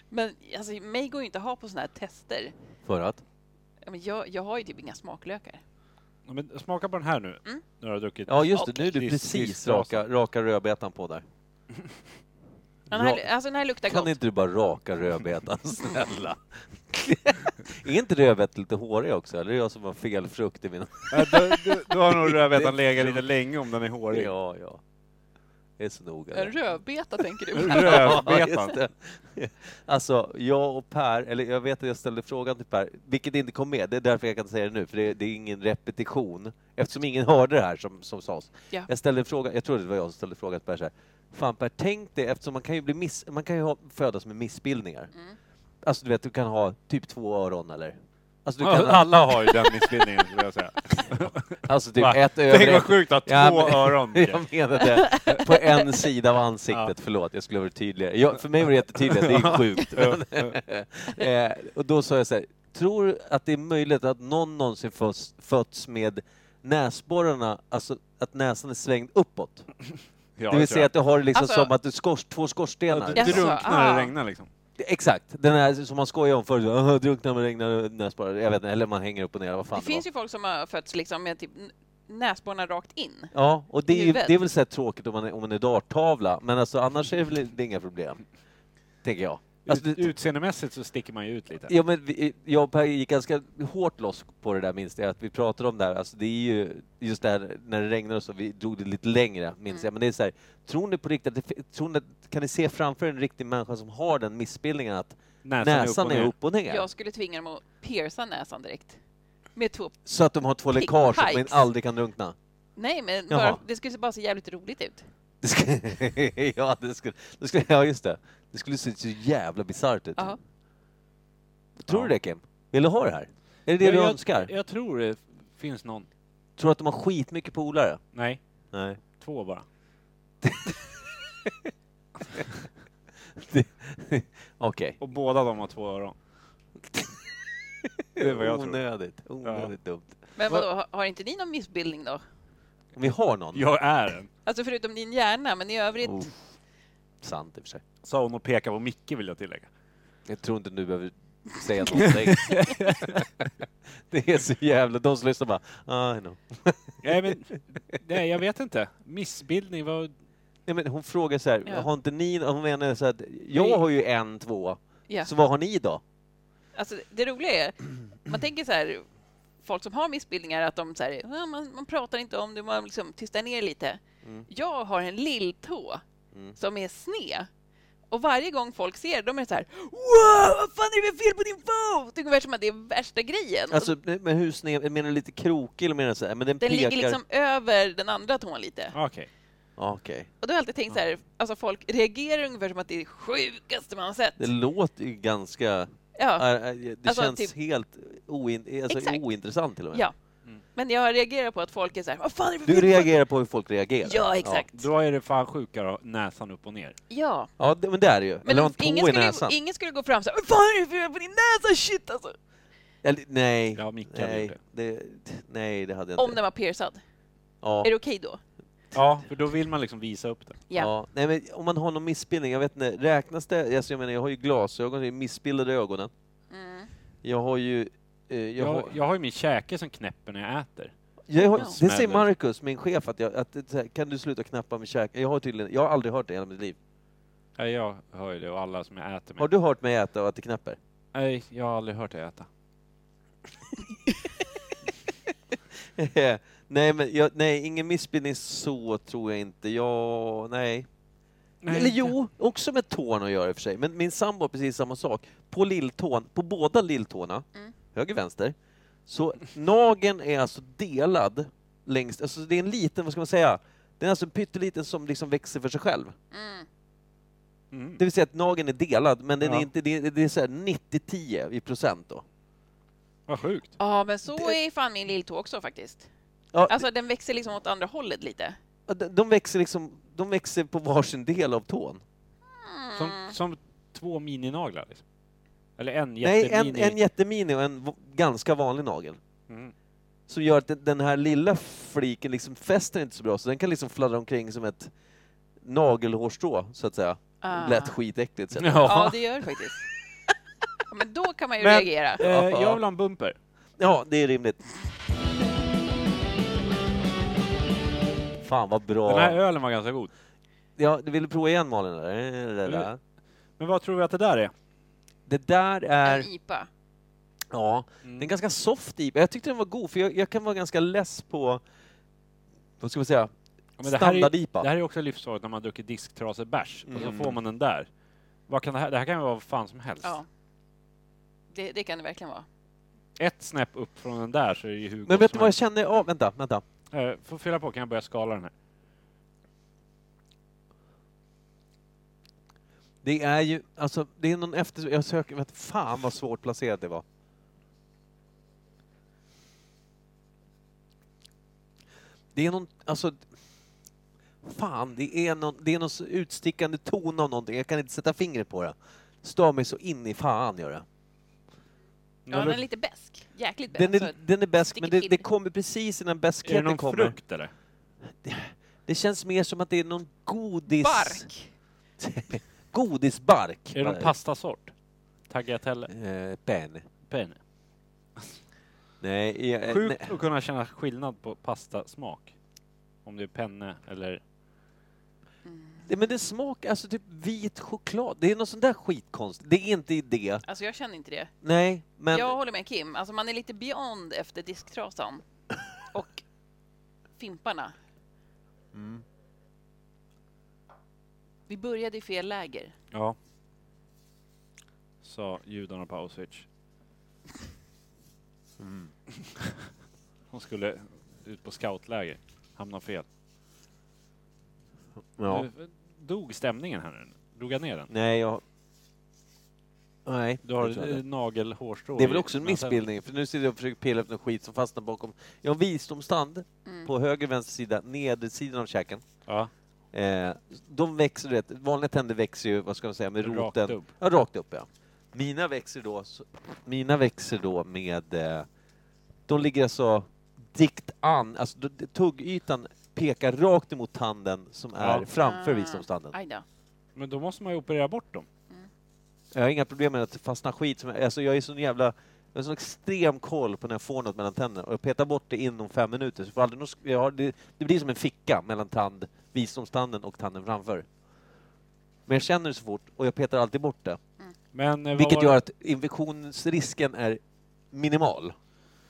Men alltså, mig går ju inte att ha på sådana här tester. För att? Ja, men Jag, jag har ju typ inga smaklökar. Ja, Men smaka på den här nu, Mm. när du har druckit. Ja, just det. Nu är du Dis- precis disktrasan. raka, raka rödbetan på där. Den Ja. här, alltså den här luktar Kan gott. inte du bara raka rödbetan, snälla? är inte rödbetan lite hårig också? Eller är det jag som har fel frukt i mina... Ja, du, du, du har nog rödbetan legat lite länge om den är hårig. Ja, ja. Det är så noga. En rödbeta tänker du på. Ja, Rödbetan. just det. Alltså, jag och Per, eller jag vet att jag ställde frågan till Per, vilket inte kom med, det är därför jag kan säga det nu, för det, det är ingen repetition, eftersom ingen hörde det här som, som sades. Ja. Jag ställde en fråga, jag tror det var jag som ställde frågan till Per så här, Fan Per, tänk dig, eftersom man kan ju, bli miss, man kan ju ha, födas med missbildningar. Alltså du vet, du kan ha typ två öron eller? Alltså, du kan Ja, ha, Alla har ju den missbildningen, skulle jag säga. alltså typ Va? ett över... Tänk vad ett- sjukt att två Ja, men- öron. Jag menade på en sida av ansiktet, förlåt, jag skulle ha varit tydligare. Jag, för mig var det jättetydligt, det är sjukt. eh, och då sa jag så här, tror du att det är möjligt att någon någonsin föds, fötts med näsborrarna, alltså att näsan är svängd uppåt? Ja, det vill jag tror säga att du har det liksom Alltså- som att du skors, två jag. skorstenar. Att du Jaså, drunknar när ah. det regnar liksom. Exakt, den här som man skojar om förut, "Åh, drunknar med regnar näsborrar, jag vet inte, eller man hänger upp och ner, vad fan Det det, var. finns ju folk som har fötts liksom med typ n- näsborrarna rakt in. Ja, och det är, ju, Huvudet. det är väl så här tråkigt om man är, om man är darttavla, men alltså, annars är det väl i- det är inga problem, tänker jag. Alltså, Ut- det- Utseendemässigt så sticker man ju ut lite. ja, men vi, jag och Per gick ganska hårt loss på det där, minns jag, att vi pratade om det här. Alltså, det är ju just det här när det regnar och så, vi drog det lite längre, minns Mm. jag. Men det är så här, tror ni på riktigt att det, fi- tror ni, att- kan ni se framför en riktig människa som har den missbildningen att näsan, är upp och ner? Jag skulle tvinga dem att pierca näsan direkt. Med två... Så att de har två Pig läckage och man pikes. aldrig kan drunkna? Nej, men Jaha. bara, det skulle bara se jävligt roligt ut. Det skulle, ja, det skulle, det skulle, ja, just det. Det skulle se så jävla bisarrt ut. Ja. Tror du det Kim? Vill du ha det här? Är det det Ja, du jag, önskar? Jag tror det finns någon. Tror du att de har skitmycket polare? Nej, Nej. två bara. Okej. Och båda de har två öron. Det är vad jag tror. Onödigt, onödigt dumt. Men Vad- vadå, har, har inte ni någon missbildning då? Om vi har någon. Jag är en. Alltså förutom din hjärna, men i övrigt... Oh, sant i och för sig. Sa hon och pekade på Micke vill jag tillägga. Jag tror inte du behöver säga någonting. det är så jävla... De som lyssnar bara, "Ah, I know. Nej, men, nej jag vet inte. Missbildning, vad... Nej, men hon frågar så här, Ja. har inte ni... Hon menar så att jag Nej. Mm. har ju en två. Ja. så vad har ni då? Alltså, det roliga är, man tänker så här, folk som har missbildningar, att de så här, "Ah, man, man pratar inte om det, man liksom tystar ner lite. Mm. Jag har en lilltå som är sned. Och varje gång folk ser det, de är så här ”Wow, vad fan är det för fel på din fot?” Det är ungefär som att det är värsta grejen. Och Alltså, men hur sned? Menar du lite krokig eller menar du så här, men den, den pekar... ligger liksom över den andra tån lite. Okej. Ja, Okej. Och då har jag alltid tänkt så här, alltså folk reagerar ungefär som att det är det sjukaste man har sett. Det låter ju ganska... Ja, är- är- Det Alltså, känns typ- helt oin... alltså, Exakt. ointressant till och med. ja. Men jag reagerar på att folk är så här ”Vad fan är det för Du fel på-" reagerar på hur folk reagerar? Ja, exakt. Då är det fan sjukare att ha näsan upp och ner. Ja. Ja, det, men det är det ju. Men Eller ha en tå ingen, i skulle, näsan. ingen skulle gå fram så här, "Vad fan är det för fel på din näsa? Shit alltså! Eller, nej. Ja, Micke hade nej. gjort Det, nej, det hade jag Om inte. den var piercad. Ja. Är det okej då? Ja, för då vill man liksom visa upp det. Ja. Ja, nej men om man har någon missbildning, jag vet inte, räknas det? Alltså jag menar, jag har ju glasögon, det är missbildade ögonen. Mm. Jag har ju... Eh, jag Jag, har, jag har ju min käke som knäpper när jag äter. jag har, Ja. det säger Smäller. Marcus, min chef, att, jag, att det, är så här, kan du sluta knappa med käken? Jag har tydligen, jag har aldrig hört det i hela mitt liv. Nej, jag hör ju det och alla som jag äter med. Har du hört mig äta och att det knäpper? Nej, jag har aldrig hört dig äta. nej, men jag, nej, ingen missbildning så tror jag inte. Jag, nej. Eller jo, också med tån att göra i och för sig. Men min sambo har precis samma sak. På lilltån, på båda lilltårna, Mm. höger vänster, så nageln är alltså delad längst, alltså det är en liten, vad ska man säga, den är alltså en pytteliten som liksom växer för sig själv. Mm. Mm. Det vill säga att nageln är delad, men den är Ja. inte, det är, det är så här 90-10 i procent då. Vad sjukt. Ja, men så är fan min lilltå också faktiskt. Ja, Alltså den växer liksom åt andra hållet lite. de, de växer liksom, de växer på varsin del av tån. Ah. Som, som två mininaglar. Liksom. Eller en Nej, jättemini. en, en jättemini och en v- ganska vanlig nagel. Mm. som gör att den- den här lilla fliken liksom fäster inte så bra, så den kan liksom fladdra omkring som ett nagelhårstrå, så att säga. Ah. Lät skitäckligt. Så att- Ja, Ja. det gör det faktiskt. Ja, men då kan man ju Men- reagera. Eh, jag vill ha en bumper. Ja, det är rimligt. Fan vad Den här bra. ölen var ganska god. Ja, du ville prova igen Malin? eller? Det Mm. där. Men vad tror vi att det där är? Det där En är... IPA. Ja, Mm. den är ganska soft i. Jag tyckte den var god, för jag, jag kan vara ganska less på... Vad ska man säga? Ja, men det, här är, ju- Standard-IPA. det här är också livsfarligt när man dricker disktrasebärs och Mm. så får man den där. Vad kan det, här, det här kan ju vara vad fan som helst. Ja. Det, det kan det verkligen vara. Ett snäpp upp från den där så är det ju hur Men gott vet du som vad jag helst. känner? Ja, vänta, vänta. Eh, Får fylla på, kan jag börja skala den här? Det är ju, alltså, det är någon efter... Jag söker, vet fan vad svårt placerat det var. Det är någon, alltså... Fan, det är någon, det är någon så utstickande ton av någonting. Jag kan inte sätta fingret på det. Stör mig så in i fan gör det. Ja, den är lite bäsk. Jäkligt bäsk. Den är, Alltså, den är bäst, men det, sticker till. det kommer precis innan är det beskheten någon kommer. frukt eller? Det känns mer som att det är någon godis... bark. Godisbark. Är det någon pastasort? Tagliatelle? Eh, pen. Penne? Nej, eh, nej. Sjukt att kunna känna skillnad på pastasmak. Om det är penne eller... Det, men det smakar alltså typ vit choklad. Det är någon sån där skitkonst. Det är inte det. Alltså jag känner inte det. Nej, men... Jag håller med Kim. Alltså man är lite beyond efter disktrasan. Och fimparna. Vi började i fel läger. Ja. Sa judarna på Auschwitz. De Mm. skulle ut på scoutläger. Hamna fel. Ja. Nu Dog stämningen här nu? Drog jag ner den? Mm. Nej, jag... Nej. Du har det tror jag ett inte. nagelhårstrå. det är i väl också en näsan. missbildning, för nu sitter jag och försöker pilla efter någon skit som fastnar bakom. Jag har en visdomstand på höger vänster sida, nedersidan av käken. Ja. Eh, de växer, du vet, vanliga tänder växer ju, vad ska man säga, med Rakt roten. upp. Ja, rakt upp ja. Mina växer då, så, mina växer då med... Eh, de ligger alltså dikt an, alltså d- d- tuggytan pekar rakt emot tanden som är Ja. framför Ah, visdomstanden. Aj då. Men då måste man ju operera bort dem. Jag har inga problem med att fastna skit. Som jag, alltså jag är sån jävla... Jag har sån extrem koll på när jag får något mellan tänderna och jag petar bort det inom fem minuter. Så jag får aldrig något, sk- jag har, det, det blir som en ficka mellan tand, visdomstanden och tanden framför. Men jag känner det så fort och jag petar alltid bort det. Men eh, vad Vilket var- gör att infektionsrisken är minimal.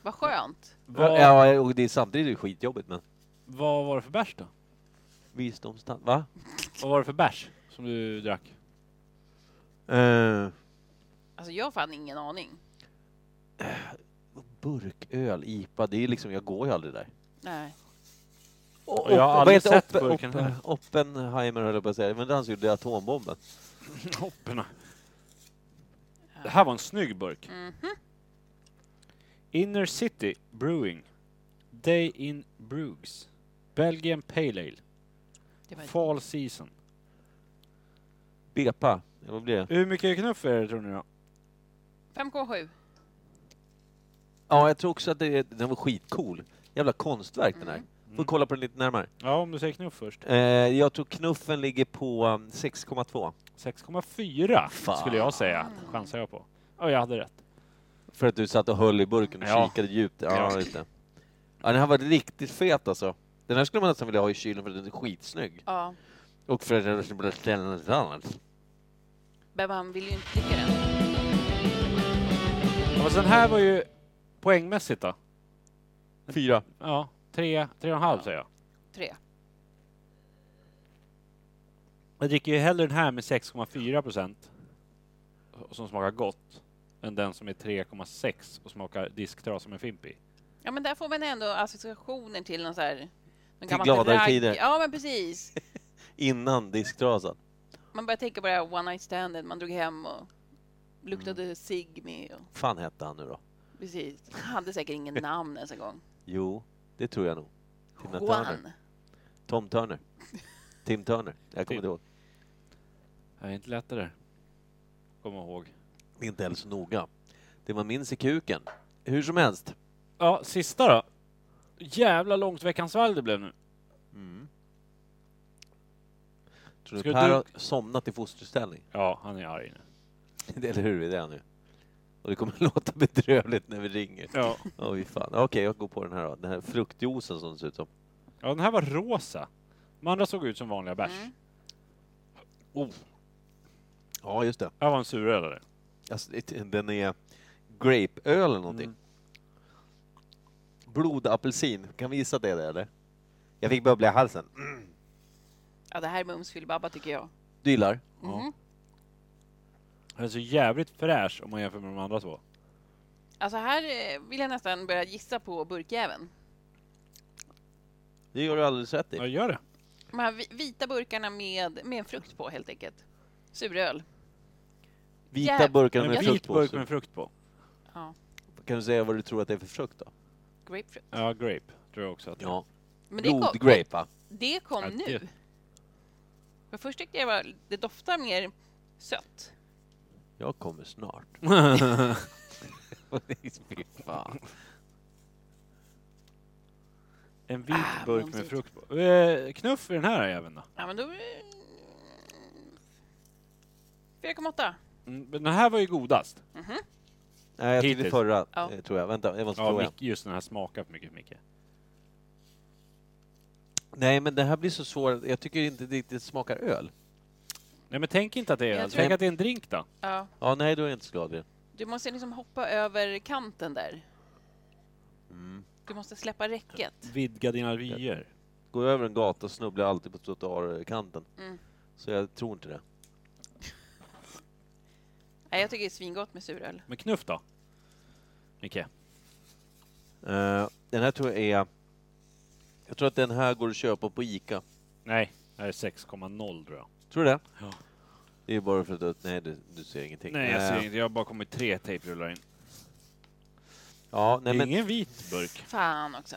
Vad skönt. Vad- Ja, och det är samtidigt är det skitjobbigt men vad var det för bärs då? visdomstand... Va? Vad var det för bärs som du drack? Eh, Alltså jag har fan ingen aning. burköl, IPA, det är liksom, jag går ju aldrig där. Nej. Och, jag har aldrig sett Oppen, burken Oppen, här. Oppenheimer höll jag på att säga, men det är han som gjorde atombomben. Hopperna. Det här var en snygg burk. Inner City Brewing. Day in Bruges. Belgian Pale Ale. Det var Fall Season. Bepa, eller vad blir det? Hur mycket knuff är det tror ni då? 5K7. Ja, jag tror också att det, är- den var skitcool. Jävla konstverk den här. Får kolla på den lite närmare. Ja, om du säger knuff först. Mm. Eh, jag tror knuffen ligger på um, 6,2. 6,4 Fan. skulle jag säga. Chansar jag på. Ja, jag hade rätt. För att du satt och höll i burken och Ja. kikade djupt. Ja, Ja. just det. Ja, den här var riktigt fet alltså. Den här skulle man nästan vilja ha i kylen för den är skitsnygg. Ja. Och för att den skulle bli ställd annat. Men man vill ju inte dricka den. Ja, fast den här var ju poängmässigt då. Fyra. Ja, 3, 3,5 säger jag. Tre. Jag dricker ju hellre den här med 6,4 procent och som smakar gott än den som är 3,6 och smakar disktrasa med fimp i. Ja, men där får man ändå associationer till någon så här... Någon Till gammal gladare ragg. tider. Ja, men precis. Innan disktrasan. Man börjar tänka på det här one night standen man drog hem och luktade cigg med. Och, fan hette han nu då? precis. Han hade säkert ingen namn ens en gång. Jo, det tror jag nog. Tina Turner. Juan. Tom Turner. Tim Turner. Jag Tim. kommer inte ihåg. Det är inte lätt det där. Kom ihåg. Det är inte heller så noga. Det man minns i kuken. Hur som helst. Ja, sista då. Jävla långt veckans valg det blev nu. Tror Ska du Per du- har somnat i fosterställning? Ja, han är arg nu. Eller hur? Det är han nu. Och det kommer låta bedrövligt när vi ringer. Ja. Åh, fy fan. Okej, jag går på den här då. Den här fruktjuicen som det ser ut som. ja, den här var rosa. De andra såg ut som vanliga bärs. Mm. Oh, Ja, just det. här var en surölare. Alltså, det- den är grapeöl eller någonting. Blodapelsin. Kan vi gissa att det är det, eller? Jag fick bubbla i halsen. Ja, det här är mums filibabba tycker jag. Du gillar? Den är så jävligt fräsch om man jämför med de andra två. Alltså här eh, vill jag nästan börja gissa på burkjäveln. Det gör du alldeles rätt i. Ja, gör det. De här vi- vita burkarna med, med en frukt på helt enkelt. Suröl. Vita Jäv- burkar En med vit frukt på. burk så med frukt på. Ja. Kan du säga vad du tror att det är för frukt då? Grapefruit. Ja, grape tror jag också att det är. Ja. Men det kom, Blodgrape, va? det kom Ja, det- nu. För först tyckte jag var, det doftar mer sött. Jag kommer snart. Fy fan. En vit Ah, burk med mumsigt. frukt på. Eh, knuff i den här även då. Ja, men då... 4,8. Mm, men den här var ju godast. Nej, jag tog det Hittills. förra, Ja. eh, tror jag. Vänta, jag måste Ja, fråga. Mick, just den här smakar för mycket för mycket. Nej, men det här blir så svårt. Jag tycker inte det riktigt smakar öl. Nej men tänk inte att det är Jag öl. tror- Tänk att det är en drink då. Ja. Ja, nej, då är jag inte så glad i det. Du måste liksom hoppa över kanten där. Du måste släppa räcket. Vidga dina vyer. Går jag över en gata snubblar jag alltid på trottoarkanten. Mm. Så jag tror inte det. Nej, jag tycker det är svingott med suröl. Men knuff då? Micke? Eh, den här tror jag är... Jag tror att den här går att köpa på Ica. Nej, det här är 6,0 tror jag. Tror du det? Ja. Det är bara för att du... Nej, du, du ser ingenting. Nej jag Eh, ser inte, jag har bara kommit tre tejprullar in. Ja, nej, det är men ingen vit burk. Fan också.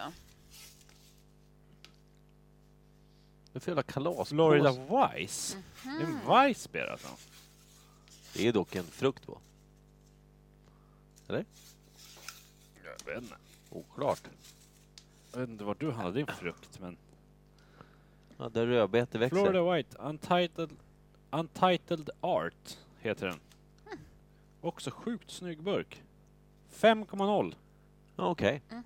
Det är för jävla kalas. Florida Wise? Mhm. Det är en Wise beer alltså. Det är dock en frukt på. Eller? Jag vet inte. Oklart. Jag vet inte var du handlade din frukt, men... Ja, där rödbetor växer. Florida White Untitled, Untitled Art heter den. Också sjukt snygg burk. 5,0. Ja, Okej. Mhm.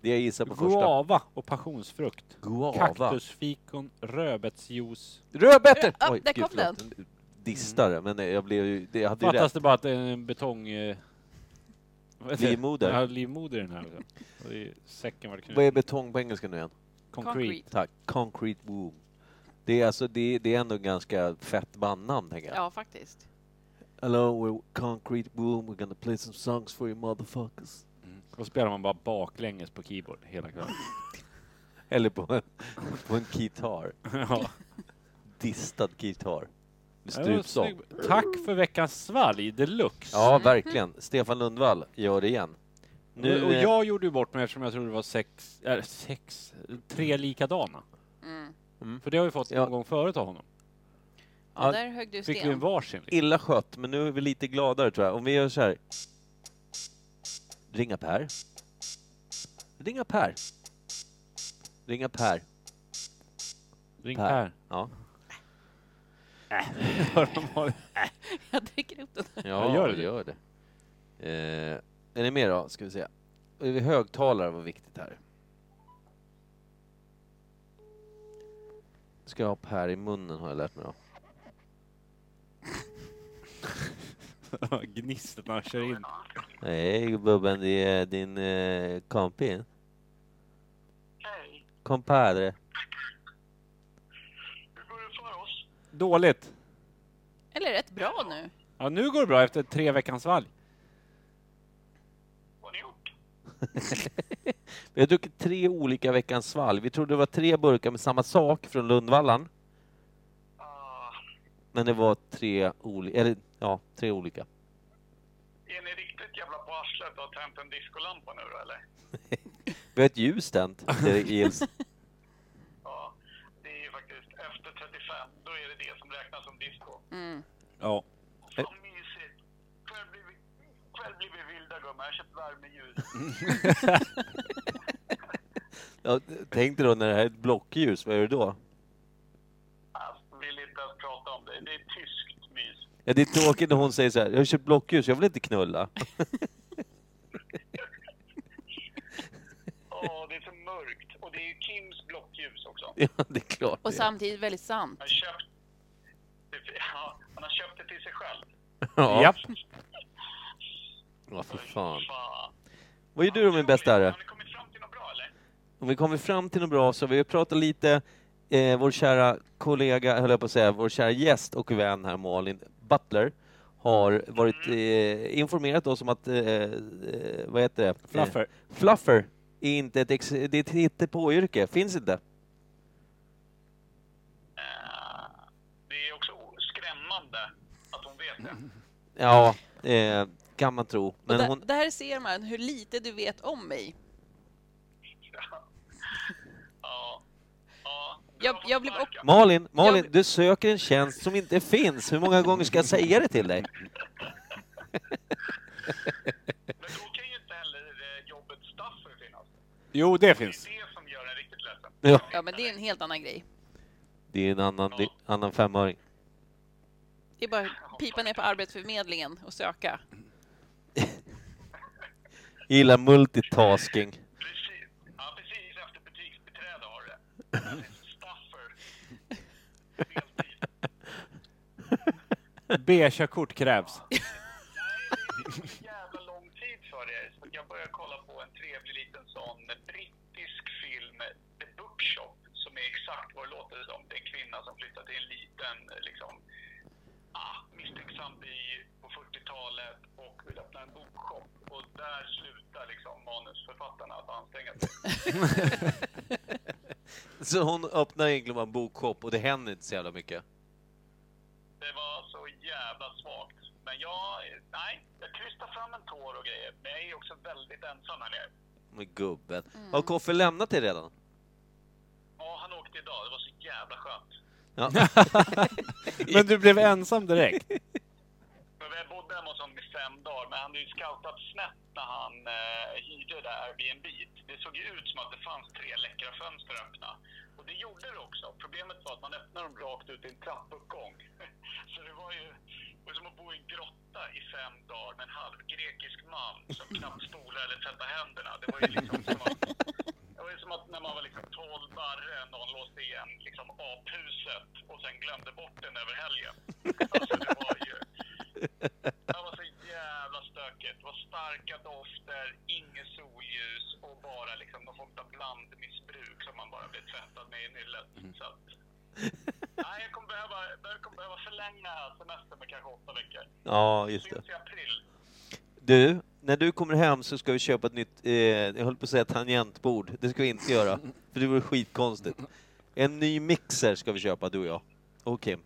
Det jag gissar på första. Guava och passionsfrukt. Guava. Kaktusfikon, rödbetsjuice. Rödbetor! Ja, där kom förlåt. Distare, men jag blev ju... Det jag hade ju Fattas rätt. det bara att det är en betong... Eh, vad heter det? Livmoder. Ja, livmoder i den här. också. Och i säcken var det Vad är knuten. betong på engelska nu igen? Concrete. Tack. Concrete Womb. Det är alltså, det, det är ändå en ganska fett bandnamn, tänker jag. Ja, faktiskt. Hello, we're Concrete Womb, we're gonna play some songs for you motherfuckers. Mm. Och spelar man bara baklänges på keyboard hela kvällen. Eller på en, på en gitarr. ja. Distad gitarr. Med Det var strupsång. snygg- Tack för veckans svalg deluxe. Ja, verkligen. Stefan Lundvall gör det igen. Nu, och eh, jag gjorde ju bort mig eftersom jag trodde det var sex, äh, sex, tre likadana. Mm. För det har vi fått Ja. någon gång förut av honom. Ja, Ja, där högg du Fick vi en sten. varsin. Liksom. illa skött, men nu är vi lite gladare tror jag. Om vi gör så här. Ringa Per. Ringa Per. Ringa Per. Ring Per. Per. Ja. Hör de vad- Jag dricker upp den. Ja, gör det. Gör det. Eh, är ni med då? Ska vi se. Är vi Högtalare var viktigt här. Ska jag ha Per i munnen har jag lärt mig då. Gnistet när han kör in. Nej Bubben, det är din eh, kompis. Hej, Compadre. hur går det för oss? Dåligt. Eller rätt bra nu. Ja, nu går det bra efter tre veckans svalg. Vad har ni gjort? Vi har druckit tre olika veckans svalg. Vi trodde det var tre burkar med samma sak från Lundvallan. Ah, Men det var tre olika, eller ja, tre olika. är ni riktigt jävla på arslet och har tänt en diskolampa nu då, eller? Vi har ett ljus tänt. Det är Ils. Ja, det är ju faktiskt efter 35, då är det det som räknas som disco. Mm. Ja. Fan mysigt! Själv blir vi, själv blir vi vilda gumman, jag har köpt värmeljus. Ja, tänk dig då när det här är ett blockljus, vad är det då? Alltså, vill inte ens prata om det, det är tyskt mys. Ja, det är tråkigt när hon säger så här, jag har köpt blockljus, jag vill inte knulla. Ja, det är så mörkt. Och det är ju Kims blockljus också. Ja, det är klart Och det är. samtidigt väldigt sant. Han har köpt, det- ja, han har köpt det till sig själv. Ja. Japp. Ja, för fan. Fan. Vad gör du då min bästa herre? Har ni kommit fram till något bra eller? Om vi kommer fram till något bra så vi har pratat lite, eh, vår kära kollega, höll jag på att säga, vår kära gäst och vän här Malin Butler har varit eh, informerat oss om att, eh, eh, vad heter det? Fluffer. Eh, fluffer är inte ett, ex- det är ett hittepåyrke, finns inte. Eh, Det är också o- skrämmande att hon vet det. Ja, eh, kan man tro. Och Men där, hon, där ser man hur lite du vet om mig. Ja. ja. Du Jag, har fått jag blev upp... sparken. Malin, Malin, Jag- du söker en tjänst som inte finns. Hur många gånger ska jag säga det till dig? Men då kan ju inte heller eh, jobbet staffer finnas. Jo, det Det finns. är det som gör en riktigt ledsen. Ja. Ja, men det är en helt annan grej. Det är en annan, det är en annan femöring. Det är bara att pipa ner på Arbetsförmedlingen och söka. Jag gillar multitasking. Precis, ja, precis efter butiksbiträde har du det. Staffer. Deltid. B-körkort krävs. jävla lång tid för er. Så jag började kolla på en trevlig liten sån brittisk film, The Bookshop, som är exakt vad det låter som. Det är en kvinna som flyttar till en liten, liksom, ah, misstänksam by på 40-talet och vill öppna en bokshop. Och där slutar liksom manusförfattarna att anstränga sig. Så hon öppnar egentligen bara en bokshop och det händer inte så jävla mycket. Det var så jävla svagt. Men jag, nej, jag krystar fram en tår och grejer. Men jag är också väldigt ensam här nere. Men gubben. Har Koffe lämnat dig redan? Ja, han åkte idag. Det var så jävla skönt. Ja. Men du blev ensam direkt. Men vi bodde hemma hos honom i fem dagar, men han hade ju scoutat snett när han eh, hyrde det där Airbnb. Det såg ju ut som att det fanns tre läckra fönster öppna. Och det gjorde det också. Problemet var att man öppnade dem rakt ut i en trappuppgång. Så det var ju det var som att bo i en grotta i fem dagar med en halvgrekisk man som knappt stolar eller tvättar händerna. Det var ju liksom som att det var ju som att när man var liksom 12 barre, någon låste igen liksom aphuset och sen glömde bort den över helgen. Alltså det var ju... Det var så jävla stökigt. Det var starka dofter, inget solljus och bara liksom någon form av blandmissbruk som man bara blev tvättad med i nyllet. Mm. Så att, nej, jag kommer behöva, jag kommer behöva förlänga semestern med kanske åtta veckor. Ja, just det. Syns i april. Du, när du kommer hem så ska vi köpa ett nytt, eh, jag höll på att säga tangentbord. Det ska vi inte göra, för det vore skitkonstigt. En ny mixer ska vi köpa, du och jag. Och Kim.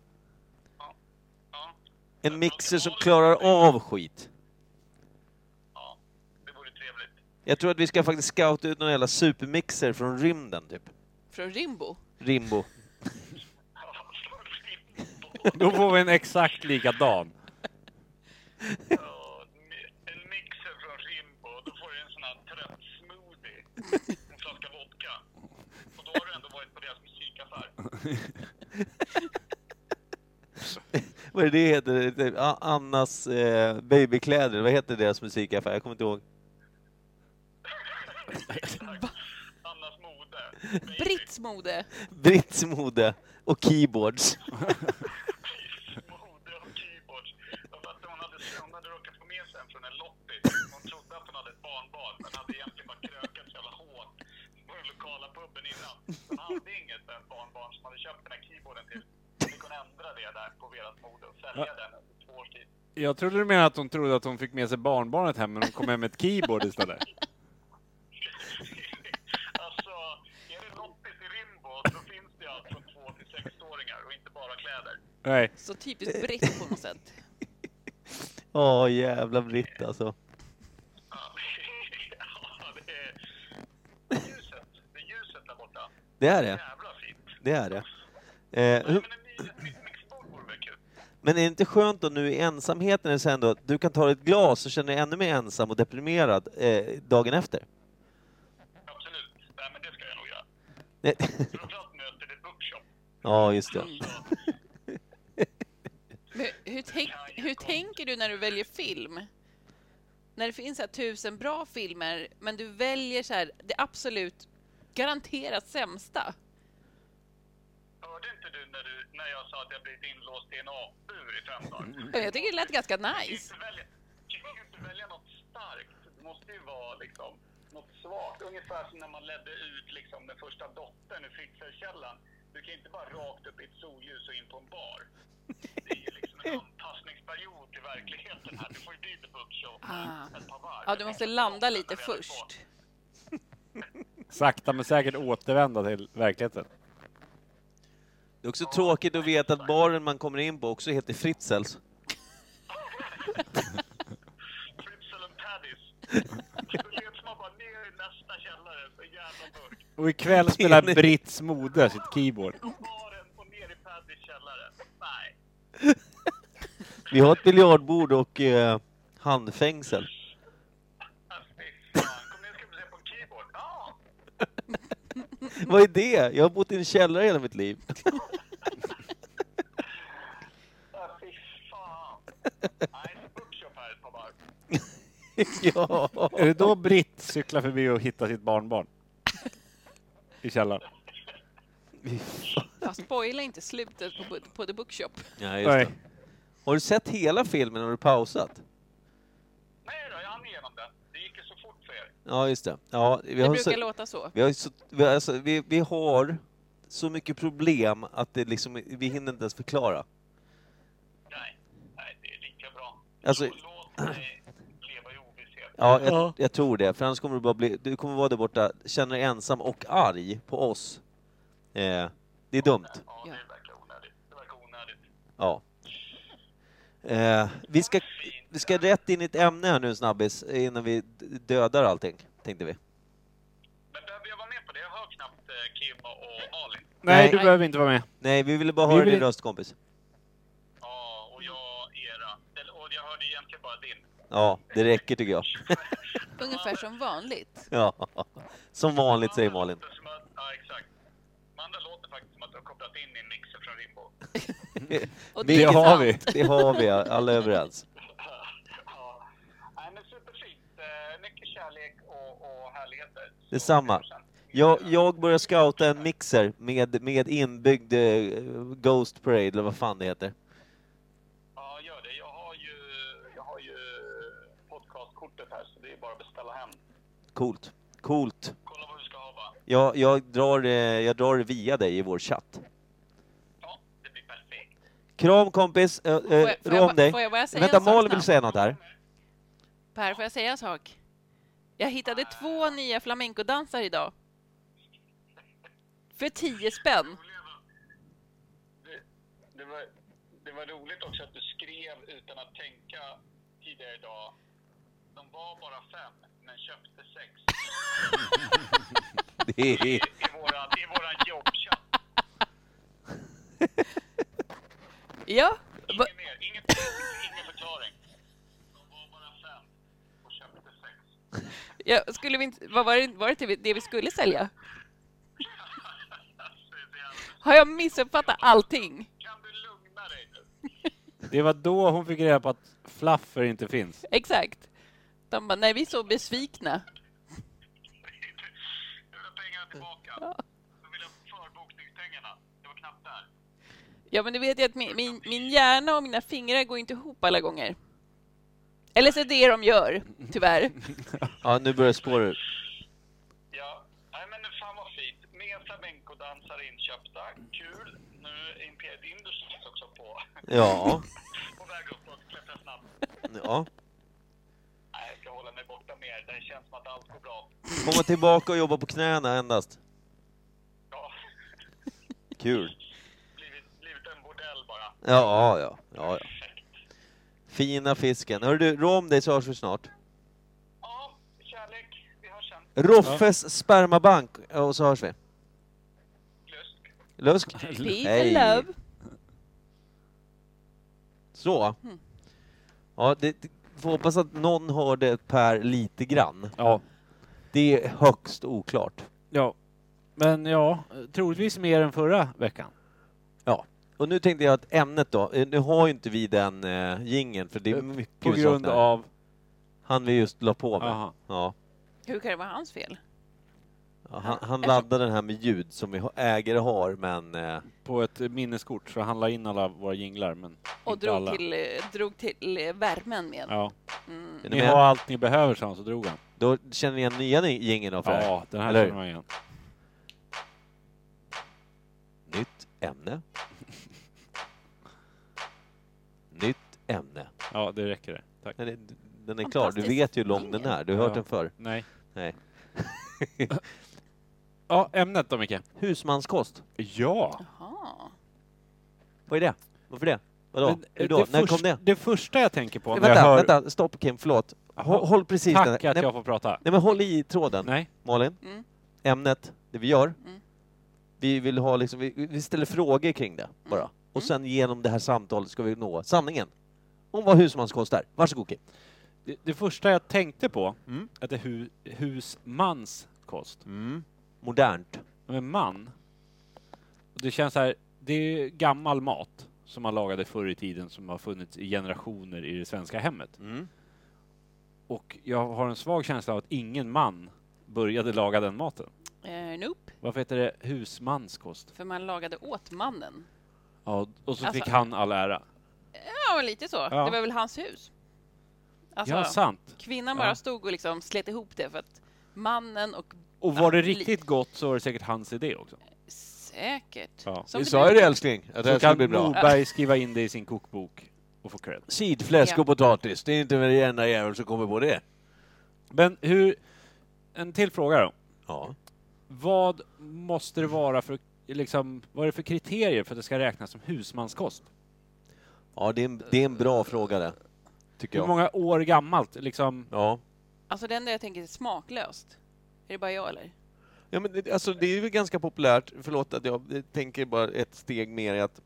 Ja, En mixer som klarar av skit. ja, det vore trevligt. Jag tror att vi ska faktiskt scouta ut någon jävla supermixer från rymden, typ. Från Rimbo? Rimbo. Då får vi en exakt likadan. Ja, en mixer från Rimbo, då får du en sån här trött smoothie. En flaska vodka. Och då har du ändå varit på deras musikaffär. Vad är det heter? Det är A- Annas eh, babykläder, vad heter deras musikaffär? Jag kommer inte ihåg. Annas mode. Britts mode! Britts mode och keyboards. Babys mode och keyboards. Jag fattar hon hade, hon hade råkat få med sig en från en loppis. Hon trodde att hon hade ett barnbarn, men hade egentligen bara krökat så jävla hårt på den lokala puben innan. Hon hade inget eh, barnbarn som hade köpt den här keyboarden till. Så fick hon ändra det där på deras mode och sälja den under två års tid. Jag trodde du menade att hon trodde att hon fick med sig barnbarnet hem, men hon kom hem med ett keyboard istället. alltså, är det loppis i Rimbo så finns det ju allt från två till sexåringar och inte bara kläder. Nej. Så typiskt britt på något sätt. Åh, jävla Britt alltså. Ja, ja, det är ljuset. Det är ljuset där borta. Det är det. Jävla fint. Det är det. Eh, Nej, hur, men en ny ett nytt mixbord vore väl kul? Men är det inte skönt då nu i ensamheten är det så ändå att du kan ta dig ett glas och känna dig ännu mer ensam och deprimerad eh, dagen efter? Absolut. Nej, men det ska jag nog göra. Nej. Framförallt nu efter det bookshop. ja, just det. Men hur, tänk, hur tänker du när du väljer film? När det finns så här tusen bra filmer, men du väljer så här, det absolut garanterat sämsta. Hörde inte du när, du när jag sa att jag blivit inlåst i en apbur i fem dagar? Men Jag tycker det lät ganska Du nice. kan ju inte välja- du kan ju inte välja något starkt. Det måste ju vara liksom något svagt. Ungefär som när man ledde ut liksom den första dottern ur Fritzerkällan. Du kan ju inte bara rakt upp i ett solljus och in på en bar. Det är ju liksom en anpassningsperiod till verkligheten här. Du får ju dit en bookshop Ah. ett par varv. Ja, du måste landa lite först. Sakta men säkert återvända till verkligheten. Det är också tråkigt att veta att baren man kommer in på också heter Fritzels. Fritzel and Paddies. Då leds man bara ner i nästa källare, så jävla burk. Och ikväll spelar Britts mode sitt keyboard. Baren och ner i Paddys källare. Nej. Vi har ett biljardbord och eh, handfängsel. Ah, fy fan. Kom ner ska vi se på en keyboard. Ja! Vad är det? Jag har bott i en källare hela mitt liv. Ah, fy fan. Nej, bookshop här ett par varv. ja. Är det då Britt cyklar förbi och hittar sitt barnbarn? I källaren? Fast spoila inte slutet på, bu- på The Bookshop. Nej, just Nej. det. Har du sett hela filmen? Har du pausat? Nej då, jag hann igenom den. Det gick ju så fort för er. Ja, just det. Ja, vi Det har brukar så- låta så. Vi har, ju så, vi, har- alltså, vi, vi har så mycket problem att det liksom, vi hinner inte ens förklara. Nej, nej det är lika bra. Alltså- Lå- Låt mig leva i ovisshet. Ja, jag, jag tror det. För annars kommer du bara bli, du kommer vara där borta, känna dig ensam och arg på oss. Eh, det är dumt. Ja, Ja. det verkar onödigt. Det verkar onödigt. Ja. Eh, vi, ska, vi ska rätt in i ett ämne här nu snabbis, innan vi d- dödar allting, tänkte vi. Men behöver jag vara med på det? Jag hör knappt eh, Kim och Malin. Nej, du Nej. behöver inte vara med. Nej, vi ville bara Vi höra vill- din röst kompis. Ja, och jag era. Eller, och jag hörde egentligen bara din. Ja, det räcker tycker jag. Ungefär som vanligt. Ja. Som vanligt säger Malin. Som att, ja, exakt. Amanda låter faktiskt som att du har kopplat in din mixer från Rimbo. Och Det är har sant. vi. Det har vi, alla är överens. ja. Nej, men superfint. Eh, Mycket kärlek och, och härligheter. Så Detsamma. vi hörs sen. Jag, jag börjar scouta en mixer med, med inbyggd eh, Ghost Parade, eller vad fan det heter. Ja, gör det. Jag har ju, jag har ju podcastkortet här, så det är bara att beställa hem. Coolt. Coolt. Kolla vad du ska ha, va? Jag, jag, drar, eh, jag drar det via dig i vår chatt. Ja, det blir perfekt. Kram kompis, eh, Får jag- eh, får jag rå ba- om dig. får jag bara säga Vänta, en sak Malin vill snabbt? säga något här. Per, får jag säga en sak? Jag hittade två nya flamencodansar idag. För 10 spänn. Det, det, var, det var roligt också att du skrev utan att tänka tidigare idag. De var bara fem, men köpte sex Det är, i våran, i våran jobbchatt. Ja, va- Inget mer, inget, ingen förklaring. De var bara fem och köpte sex. ja skulle vi inte, vad var det, var det det vi skulle sälja? Alltså, det är jävla- Har jag missuppfattat allting? Kan du lugna dig nu? Det var då hon fick reda på att flaffer inte finns. Exakt. De bara, nej vi är så besvikna. Jag vill ha pengarna tillbaka. Jag vill ha förbokningspengarna. Det var knappt där. Ja, men du vet ju att min, min, min hjärna och mina fingrar går inte ihop alla gånger. Eller så är det det de gör, tyvärr. ja, nu börjar spåra ur. Ja, nej men fan vad fint. Mer flamencodansare inköpta. Kul. Nu är Imperiet Industries också på, Ja, på väg uppåt. Klättrar snabbt. ja. Nej, jag ska hålla mig borta mer. Det känns som att allt går bra. Komma tillbaka och jobba på knäna endast. Ja, Kul. blivit, blivit en bordell bara. Ja, ja, ja, ja. Fina fisken. Hör du, rå om dig så hörs vi snart. Ja, kärlek. Vi hörs sen. Roffes spermabank, och så hörs vi. Lusk. Lusk? Peace and Hej. love. Så. Ja, det, det, får hoppas att någon hörde Per lite grann. Ja. Det är högst oklart. ja. Men ja, troligtvis mer än förra veckan. Ja. Och nu tänkte jag att ämnet då, eh, nu har ju inte vi den eh, jingeln för det är mycket På vi grund saknar. av... Han vi just la på med. Aha. Ja. Hur kan det vara hans fel? Ja, Han, han laddade den här med ljud som vi ha- ägare har, men... Eh, På ett minneskort, så handla in alla våra jinglar. Men Och inte drog alla. till, eh, drog till eh, värmen med. Ja. är ni Ni med? har allt ni behöver, sa han, så drog han. Då känner ni igen nya ni- jingeln då? för det här? Ja, den här Eller hur? känner man igen. Nytt ämne. Nytt ämne. Ja, det räcker det. Tack. Den är, den är klar, du Fantastisk vet ju hur lång den jingel. är, du har hört Ja. den förr. Nej. Nej. Ja, ämnet då, Micke? Husmanskost, Ja. Jaha. vad är det? Varför det? Vadå? Men, Hur eh, då? När först- kom det? Det första jag tänker på när vänta, jag hör... vänta, stopp Kim, förlåt. Håll, håll precis den. Tack här- att Nej, jag får prata. nej men håll i tråden, Nej. Malin. Mm. Ämnet, det vi gör. Mm. Vi vill ha liksom, vi, vi ställer frågor kring det bara. Mm. Och sen genom det här samtalet ska vi nå sanningen. Om vad husmanskost är. Varsågod Kim. Det, det första jag tänkte på, Mm. att det är hu, husmanskost. Modernt. Men man, och det känns så här, det är gammal mat som man lagade förr i tiden som har funnits i generationer i det svenska hemmet. Och jag har en svag känsla av att ingen man började laga den maten. Eh, nope, Varför heter det husmanskost? för man lagade åt mannen. Ja, och så Alltså- fick han all ära. Ja, lite så. Ja. Det var väl hans hus. Alltså, Ja, sant. kvinnan bara Ja. stod och liksom slet ihop det för att mannen och Och var det Ja, riktigt gott så var det säkert hans idé också. säkert... Ja. Vi det sa ju brukar- det älskling, att det här skulle Så kan bli bra. Moberg skriva in det i sin kokbok och få cred. Sidfläsk Ja. och potatis, det är inte den enda jävel som kommer på det. Men hur... En till fråga då. Ja. Vad måste det vara för, liksom, vad är det för kriterier för att det ska räknas som husmanskost? Ja, det är en, det är en bra fråga det. Tycker Hur jag. många år gammalt, liksom? Ja. Alltså det enda jag tänker är smaklöst. Är det bara jag eller? Ja, men det, alltså, det är ju ganska populärt, förlåt att jag eh, tänker bara ett steg mer i att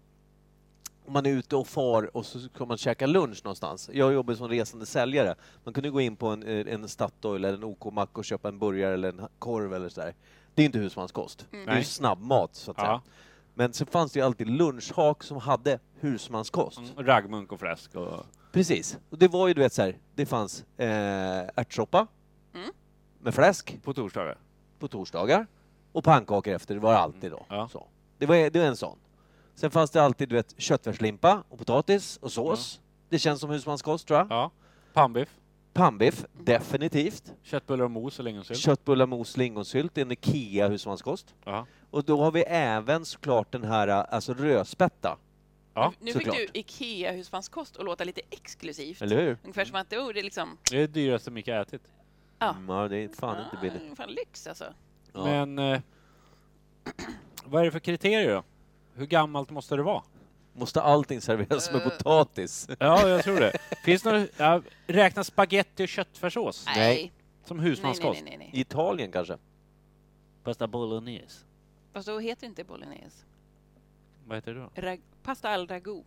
om man är ute och far och så ska man käka lunch någonstans. Jag jobbar som resande säljare. Man kunde gå in på en, eh, en Statoil eller en OK-mack och köpa en burgare eller en ha- korv eller sådär. Det är inte husmanskost. Det är ju Nej. snabbmat, så att Ja. säga. Men så fanns det ju alltid lunchhak som hade husmanskost. Mm, Raggmunk och fläsk och... Precis. Och det var ju, du vet, så här, det fanns eh, ärtsoppa Mm. med fläsk På torsdagar? på torsdagar och pannkakor efter, det var det alltid då. Ja. Så. Det, var, det var en sån. Sen fanns det alltid du vet, köttfärslimpa och potatis och sås. Det känns som husmanskost tror jag. Ja. Pannbiff? Pannbiff, Mm. definitivt. Köttbullar och mos och lingonsylt? Köttbullar, mos, lingonsylt, det är en IKEA husmanskost. Ja. Och då har vi även såklart den här alltså rödspätta, ja. Nu såklart. fick du IKEA-husmanskost att låta lite exklusivt. eller hur? Ungefär som att det vore liksom... Det är det dyraste Micke har ätit. Ja. Mm, ja, det är fan inte billigt. Ah, fan lyx alltså. Ja. Men... Eh, vad är det för kriterier då? Hur gammalt måste det vara? Måste allting serveras med Eh. potatis? Ja, jag tror det. Finns det några... Ja, räknas spaghetti och köttfärssås Nej. som Nej, nej, husmanskost? nej, nej, nej. I Italien kanske? Pasta bolognese. Fast då heter det inte bolognese. Vad heter det då? Rag... Pasta al ragu.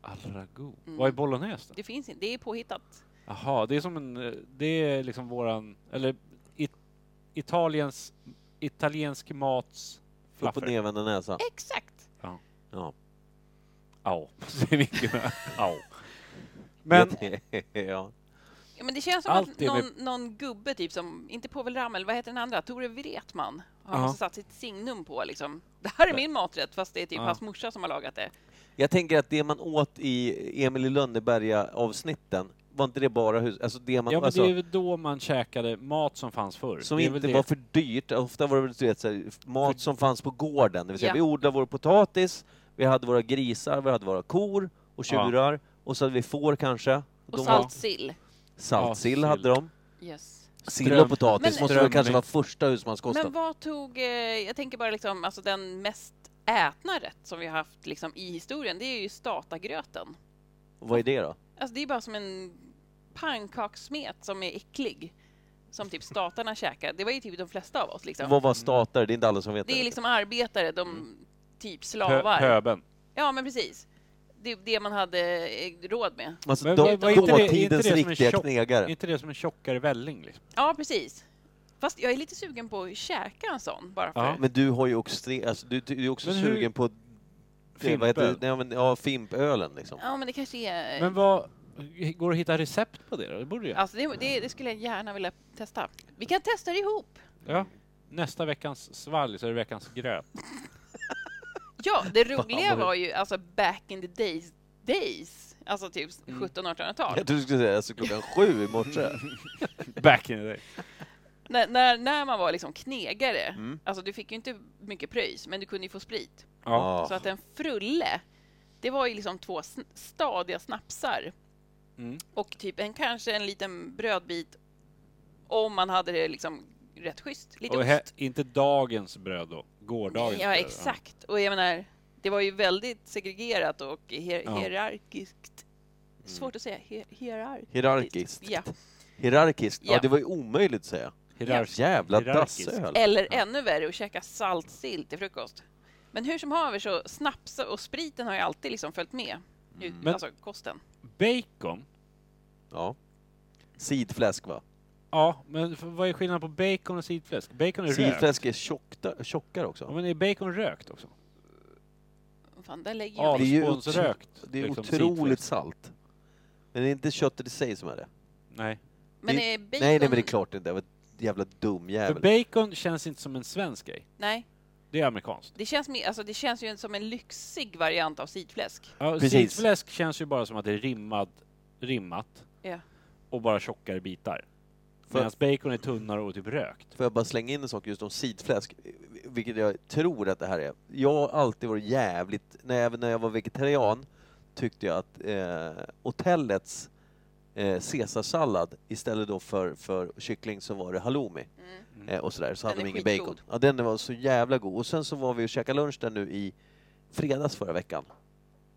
Al ragu. Mm. Vad är bolognese då? Det finns inte. Det är påhittat. Jaha, det är som en... eh, Det är liksom våran... Eller it, Italiens... Italiensk mats... Upp och Fluffer. nervända näsa? Exakt! Ja. Au. Säger Micke med. Au. Men... ja. Ja, men det känns som Allt att det någon, med- någon gubbe, typ som, inte Povel Ramel, vad heter den andra? Tore Wretman har Ja. också satt sitt signum på liksom. Det här är min maträtt fast det är typ Ja. hans morsa som har lagat det. Jag tänker att det man åt i Emil i Lönneberga-avsnitten, var inte det bara hus... Alltså det man... Ja, men det alltså, är ju då man käkade mat som fanns förr. Som det är väl inte det. var för dyrt. Ofta var det väl, du vet, så här, mat som fanns på gården. Det vill säga, Ja. vi odlade vår potatis, vi hade våra grisar, vi hade våra kor och Ja. tjurar, och så hade vi får kanske. Och De var- saltsill. Saltsill Ja, hade de. Yes. Sill och Men- potatis måste väl strömming. kanske vara första Men husmanskosten. vad tog, eh, jag tänker bara liksom, alltså den mest ätna rätt som vi har haft liksom, i historien, det är ju statagröten. Vad är det då? Alltså det är bara som en pannkakssmet som är äcklig. Som typ statarna käkar. Det var ju typ de flesta av oss liksom. Vad var statare? Det är inte alla som vet Det är liksom arbetare, de Mm. typ Pö- slavar. Pöben. Ja, men precis. Det, det man hade eh, råd med. Alltså, Men de- vad- vad är inte det- är inte dåtidens det som en riktiga tjock- knegare. Är inte det som en tjockare välling? Liksom? Ja, precis. Fast jag är lite sugen på att käka en sån bara för... Ja. Men du har ju också, stre- alltså, du, du är också Men hur- sugen på det, vad heter, det? nej, men, ja, fimpölen liksom. Ja, men det kanske är... Men vad... Går det att hitta recept på det då? Det borde ju... Alltså det, det, det skulle jag gärna vilja testa. Vi kan testa det ihop. Ja. Nästa veckans svalg så är det veckans gröt. Ja, det vad roliga det- var ju alltså back in the days, days, alltså typ Mm. 1700-1800-tal. Jag trodde du skulle säga alltså, klockan sju i morse. Mm. Back in the day. När, när, när man var liksom knegare, Mm. alltså du fick ju inte mycket pröjs, men du kunde ju få sprit. Ja. Ja. Så att en frulle, det var ju liksom två sn- stadiga snapsar Mm. och typ en, kanske en liten brödbit om man hade det liksom rätt schysst. Lite Och ost. he, inte dagens bröd då, gårdagens Ja, bröd. exakt. Och jag menar, det var ju väldigt segregerat och hier- Ja. hierarkiskt. Svårt att säga. Hier- hierarkiskt. Mm. Hierarkiskt. Ja. Hierarkiskt? Ja. Ja. det var ju omöjligt att säga. Hierarkisk. Jävla Hierarkiskt. dassöl. Eller ännu värre, att käka saltsill till frukost. Men hur som haver så snaps och spriten har ju alltid liksom följt med. Mm. Ut, Men- Alltså kosten. Bacon? Ja. Sidfläsk va? Ja, men f- vad är skillnaden på bacon och sidfläsk? Bacon är rökt. Sidfläsk är tjockta, tjockare Ja, också. men är bacon rökt också? Fan, där lägger jag det är mig. ju Alspånsrökt. Det är liksom, otroligt sidfläsk. salt. Men det är inte köttet i sig som är det. Nej. Men det- är bacon... Nej, nej men det är klart det inte. Jag var jävla dum För jävel. bacon känns inte som en svensk grej. Nej, Det är amerikanskt. det känns, mer- alltså, det känns ju som en lyxig variant av sidfläsk. Ja, Precis. sidfläsk känns ju bara som att det är rimmad, rimmat Ja. och bara tjockare bitar. För- Medan bacon är tunnare och typ rökt. Får jag bara slänga in en sak just om sidfläsk, vilket jag tror att det här är. Jag har alltid varit jävligt, när jag, även när jag var vegetarian, tyckte jag att eh, hotellets eh, caesarsallad istället då för, för kyckling så var det halloumi. Mm. Eh, och sådär, så Den hade de är ingen skitgod. bacon. Ja, den var så jävla god. Och sen så var vi och käkade lunch där nu i fredags förra veckan.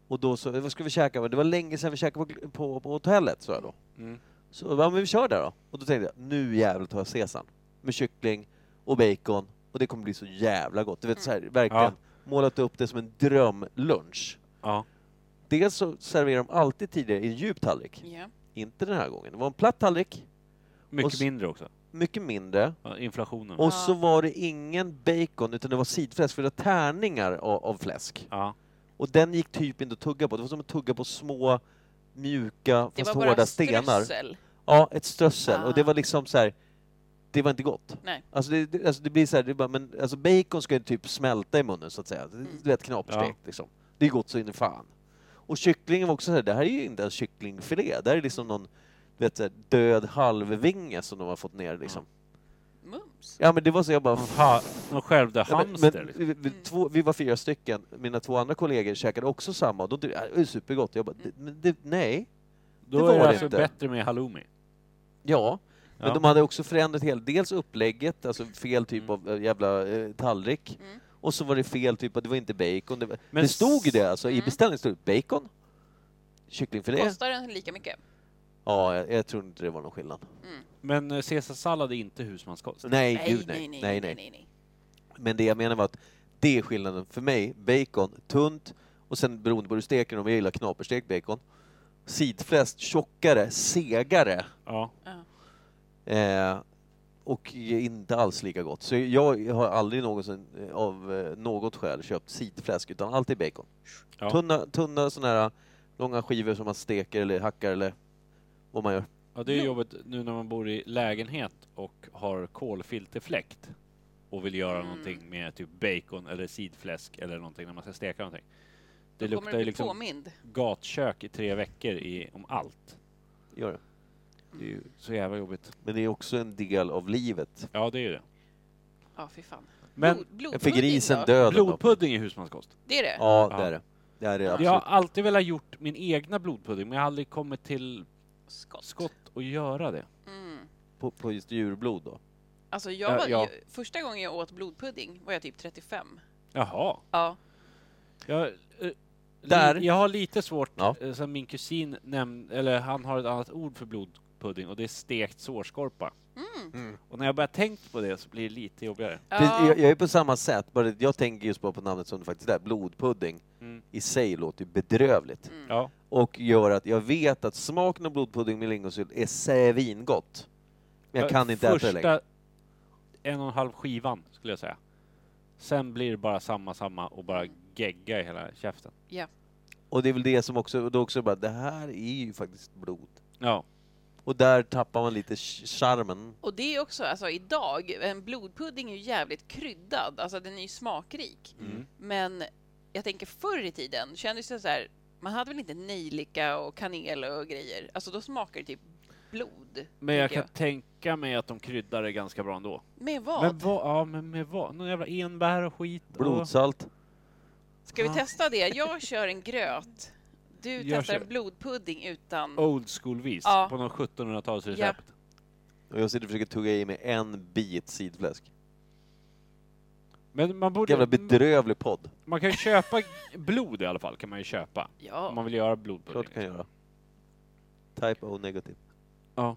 Och då så, vad ska vi käka? Men Det var länge sedan vi käkade på, på, på hotellet, sa jag då. Mm. Så ja, men vi kör där då. Och då tänkte jag, nu jävlar tar jag sesan. Med kyckling och bacon. Och det kommer bli så jävla gott. Du vet, så här, verkligen Mm. Ja. målat upp det som en drömlunch. Ja. dels så serverar de alltid tidigare i en djup tallrik. Ja. Inte den här gången. Det var en platt tallrik, Och Mycket s- mindre också. mycket mindre. Mm. Ja, inflationen. Och så var det ingen bacon, utan det var sidfläsk, för det var tärningar av, av fläsk. Ja. Och den gick typ inte att tugga på. Det var som att tugga på små, mjuka, Det fast var bara hårda stenar. strössel. Ja, ett strössel. Och det Ah. var liksom så här, det var inte gott. Nej. Alltså det, det, alltså det blir så här, det är bara, men alltså bacon ska ju typ smälta i munnen så att säga. Mm. Det- Du vet, knaperstekt liksom. Det är gott så in i fan. Och kycklingen var också så här, det här är ju inte ens kycklingfilé. Det här är liksom någon du vet, så här, död halvvinge som de har fått ner liksom. Mums. Ja men det var så jag bara, Ha, någon självdöd Ja, men- hamster. men, liksom. vi, vi, Mm. två, vi var fyra stycken, mina två andra kollegor käkade också samma och de tyckte "Äh, det är supergott. Jag bara, Mm. "Det- men det, nej. Då det var är det det alltså inte. bättre med halloumi. Ja. Men Ja. Mm. de hade också förändrat helt, dels upplägget, alltså fel typ av eh, jävla eh, tallrik. Och så var det fel typ, av- det var inte bacon. Det, var, Men det stod ju det alltså, i Mm. beställningen stod det bacon, kycklingfilé. Kostar den lika mycket? Ja, jag, jag tror inte det var någon skillnad. Men eh, caesarsallad är inte husmanskost. Nej, gud nej. Nej, nej, Men det jag menar var att det är skillnaden för mig. Bacon, tunt, och sen beroende på hur du steker om jag gillar knaperstekt bacon. Sidfläsk, tjockare, segare. Ja. Eh, och inte alls lika gott. Så jag har aldrig någonsin eh, av eh, något skäl köpt sidfläsk utan alltid bacon. Ja. Tunna, tunna sådana här eh, långa skivor som man steker eller hackar eller vad man gör. ja, det är jobbigt nu när man bor i lägenhet och har kolfilterfläkt och vill Mm. göra någonting med typ bacon eller sidfläsk eller någonting när man ska steka någonting. Det Då kommer du luktar ju bli liksom påmind. gatkök i tre veckor i, om allt. Gör det. Det är Mm. ju så jävla jobbigt. Men det är också en del av livet. Ja, det är ju det. Ja, fy fan. Men Blod, Jag fick blodpudding grisen då? döden. då. blodpudding är husmanskost. Det är det? Ja, Ja. det är det. Det är det absolut. Jag har alltid velat gjort min egna blodpudding, men jag har aldrig kommit till Skott. skott att göra det. Mm. På, på just djurblod då? Alltså, jag Ja, var, ja. ju- Första gången jag åt blodpudding var jag typ 35. Jaha. Ja. Jag, eh, Där. Li, jag har lite svårt, Ja. eh, som min kusin nämn, eller han har ett annat ord för blodpudding och det är stekt sårskorpa. Mm. Mm. Och när jag börjar tänkt på det så blir det lite jobbigare. Precis, ja. Jag, jag är på samma sätt, bara att jag tänker just bara på namnet som det faktiskt är. Blodpudding Mm. i sig låter ju bedrövligt. Mm. Ja. Och gör att jag vet att smaken av blodpudding med lingonsylt är svingott. Men jag kan inte Första äta det längre. en och en halv skivan skulle jag säga. Sen blir det bara samma, samma och bara Mm. gegga i hela käften. ja. Och det är väl det som också, och då också bara, det här är ju faktiskt blod. Ja. Och där tappar man lite ch- charmen. Och det är också, alltså idag, en blodpudding är ju jävligt kryddad, alltså den är ju smakrik. Mm. Men jag tänker förr i tiden kändes det så här, man hade väl inte nejlika och kanel och grejer, alltså då smakar det typ blod. Men jag tänker kan tänka mig att de kryddar det ganska bra ändå. Med vad? Men vad, ja men med vad? Någon jävla enbär och skit? Och... Blodsalt. Ska vi testa det? Jag kör en gröt, du Jag testar kör- en blodpudding utan... old school-vis Ja. på någon 1700-talsrecept. Och jag sitter och försöker tugga i mig en bit sidfläsk. Men man, borde, Jävla bedrövlig podd. man kan ju köpa blod i alla fall, kan man ju köpa. Om Ja, man vill göra Klart kan blodpudding. liksom. jag göra. Type O negativ. Ja.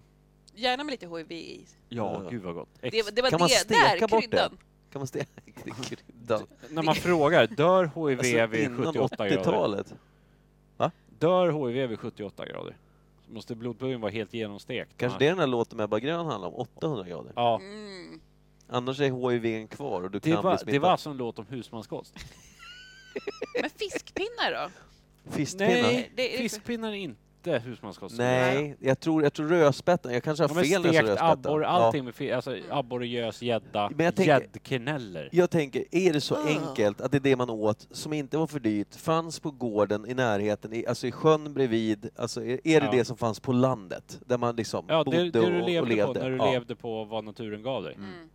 gärna med lite HIV i. ja, Ja. gud vad gott. Ex- Det, det var Kan det, man steka där bort kryddan. det? Kan man steka det är kryddan? När man frågar, dör HIV vid Alltså, innan 78 grader? 80-talet. Dör HIV vid 78 grader? Så måste blodpuddingen vara helt genomstekt. Kanske det är den här låten med Ebba Grön handlar om, 800 grader. Ja. Mm. Annars är HIV kvar och du Det kan bli var, smittad. det var alltså en låt om husmanskost. Men fiskpinnar då? Fiskpinnar? Nej, Nej, Det är- fiskpinnar är inte husmanskost. jag tror, jag tror rödspätten. Jag kanske har De har fel när jag sa stekt rödspätten. abborre, allting med fi- alltså abborre, gös, gädda, Men jag tänker- gäddkneller. Jag tänker, är det så enkelt att det är det man åt som inte var för dyrt, fanns på gården i närheten, i, alltså i sjön bredvid, alltså är, är det Ja. det som fanns på landet? Där man liksom Ja, det, bodde det du och, levde, och levde. på när du ja. levde på vad naturen gav dig. Mm. Mm.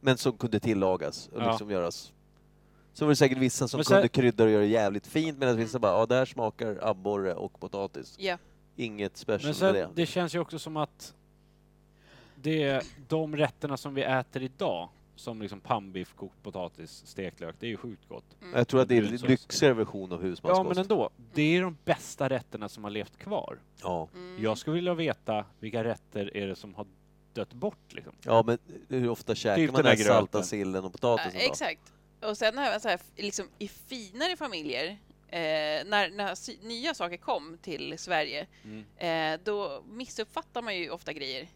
Men som kunde tillagas och Ja. liksom göras. Så var det säkert vissa som Men sen- kunde krydda och göra det jävligt fint medan vissa bara, ja där smakar abborre och potatis. Ja. Inget special Men med sen, det. det känns ju också som att det, de rätterna som vi äter idag, som liksom pannbiff, kokt potatis, stekt lök, det är ju sjukt gott. Jag tror att det är en Brunsås. lyxigare version av husmanskost. Ja, men ändå. Det är de bästa rätterna som har levt kvar. Ja. Mm. Jag skulle vilja veta vilka rätter är det som har dött bort liksom. Ja, men hur ofta käkar Typ man den den här här salta gröten. sillen och potatisen Ja, då? exakt. Och sen även så här, liksom, i finare familjer, eh, eh, när, när sy- nya saker kom till Sverige, Mm. eh, då missuppfattar man ju ofta grejer.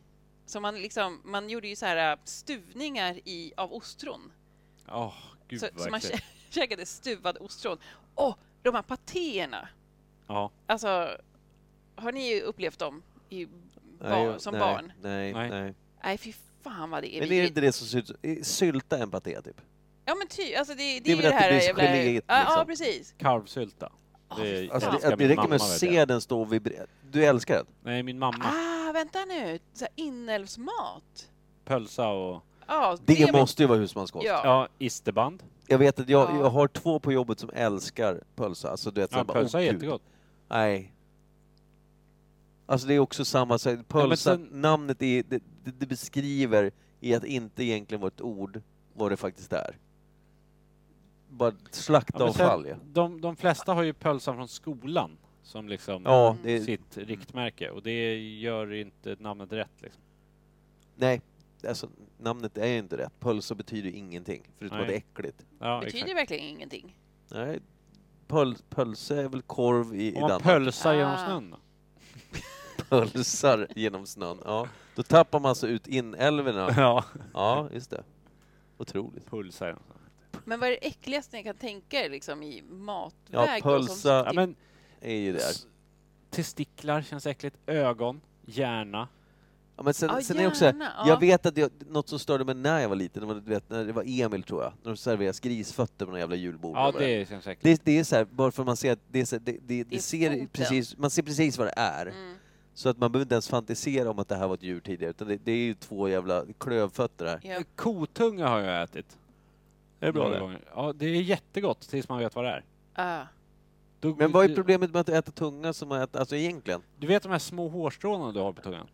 Så man, liksom, man gjorde ju så här eh, stuvningar i, av ostron. Åh, gud Så, vad så man äckligt. kä- käkade stuvad ostron. Åh, de här patéerna! Ja, Alltså, har ni ju upplevt dem i bar, Nej, som nej, barn? Nej, Nej. nej. Nej, fy fan vad det är Men är det vidrigt. inte det som ser ut som- Sylta en paté, typ? Ja men ty, alltså det, det, Det är är ju väl det att det här blir jävla... geléigt, ja, ja, liksom. precis. karvsylta. Åh, Det är- fy fan. Alltså, älskar det, det min räcker med att mamma, vet se den stå och vibrera. Du älskar den? Nej, min mamma. Mm. Ah, vänta nu! Så här inälvsmat. Pölsa och... Ja, Det, är- måste ju vara husmanskost. Ja. Ja, isterband. Jag vet att jag, Ja. jag har två på jobbet som älskar pölsa. Alltså, du vet, så Ja, här bara, pölsa är "Åh, Gud." jättegott. Nej. Alltså det är också samma sak. men Pölsa, sen- namnet är, det, det det beskriver i att inte egentligen vara ett ord vad det faktiskt är. Bara ett Ja, men slaktavfall ja. sen, de, de flesta har ju pölsan från skolan som liksom Ja, Mm. det, sitt riktmärke och det gör inte namnet rätt. Liksom. nej. Alltså, namnet är ju inte rätt. Pölsa betyder ju ingenting, förutom Nej. att det är äckligt. Ja, betyder exakt. verkligen ingenting. Nej. Pöl, pölse är väl korv i, i Om man Danmark? pölsar genom Ah. snön då? Pölsar genom snön. Ja. Då tappar man alltså ut inälvorna. Ja. Ja, just det. Otroligt. Pulsar genom snön. Men vad är det äckligaste ni kan tänka er liksom, i matväg? Ja, då, som- pölsa- Ja, typ- men Är ju där. s- testiklar känns äckligt. Ögon, hjärna. Ja, men sen, Ja, sen är det också, gärna, ja. jag vet att jag, något som störde mig när jag var liten, det var, du vet, när det var Emil tror jag, när de serveras grisfötter på någon jävla julbord. Ja, Eller vad det känns äckligt. det, det är så här, bara för att man ser att det, är så här, det, det, det är ser foten. precis, man ser precis vad det är. Mm. Så att man behöver inte ens fantisera om att det här var ett djur tidigare, utan det, det är ju två jävla klövfötter här. ja. Kotunga har jag ätit. Är det bra några det? gånger. Ja, det är jättegott tills man vet vad det är. Ah. Då- Men vad är du- problemet med att äta tunga som att äta, alltså egentligen? Du vet de här små hårstråna du har på tungan?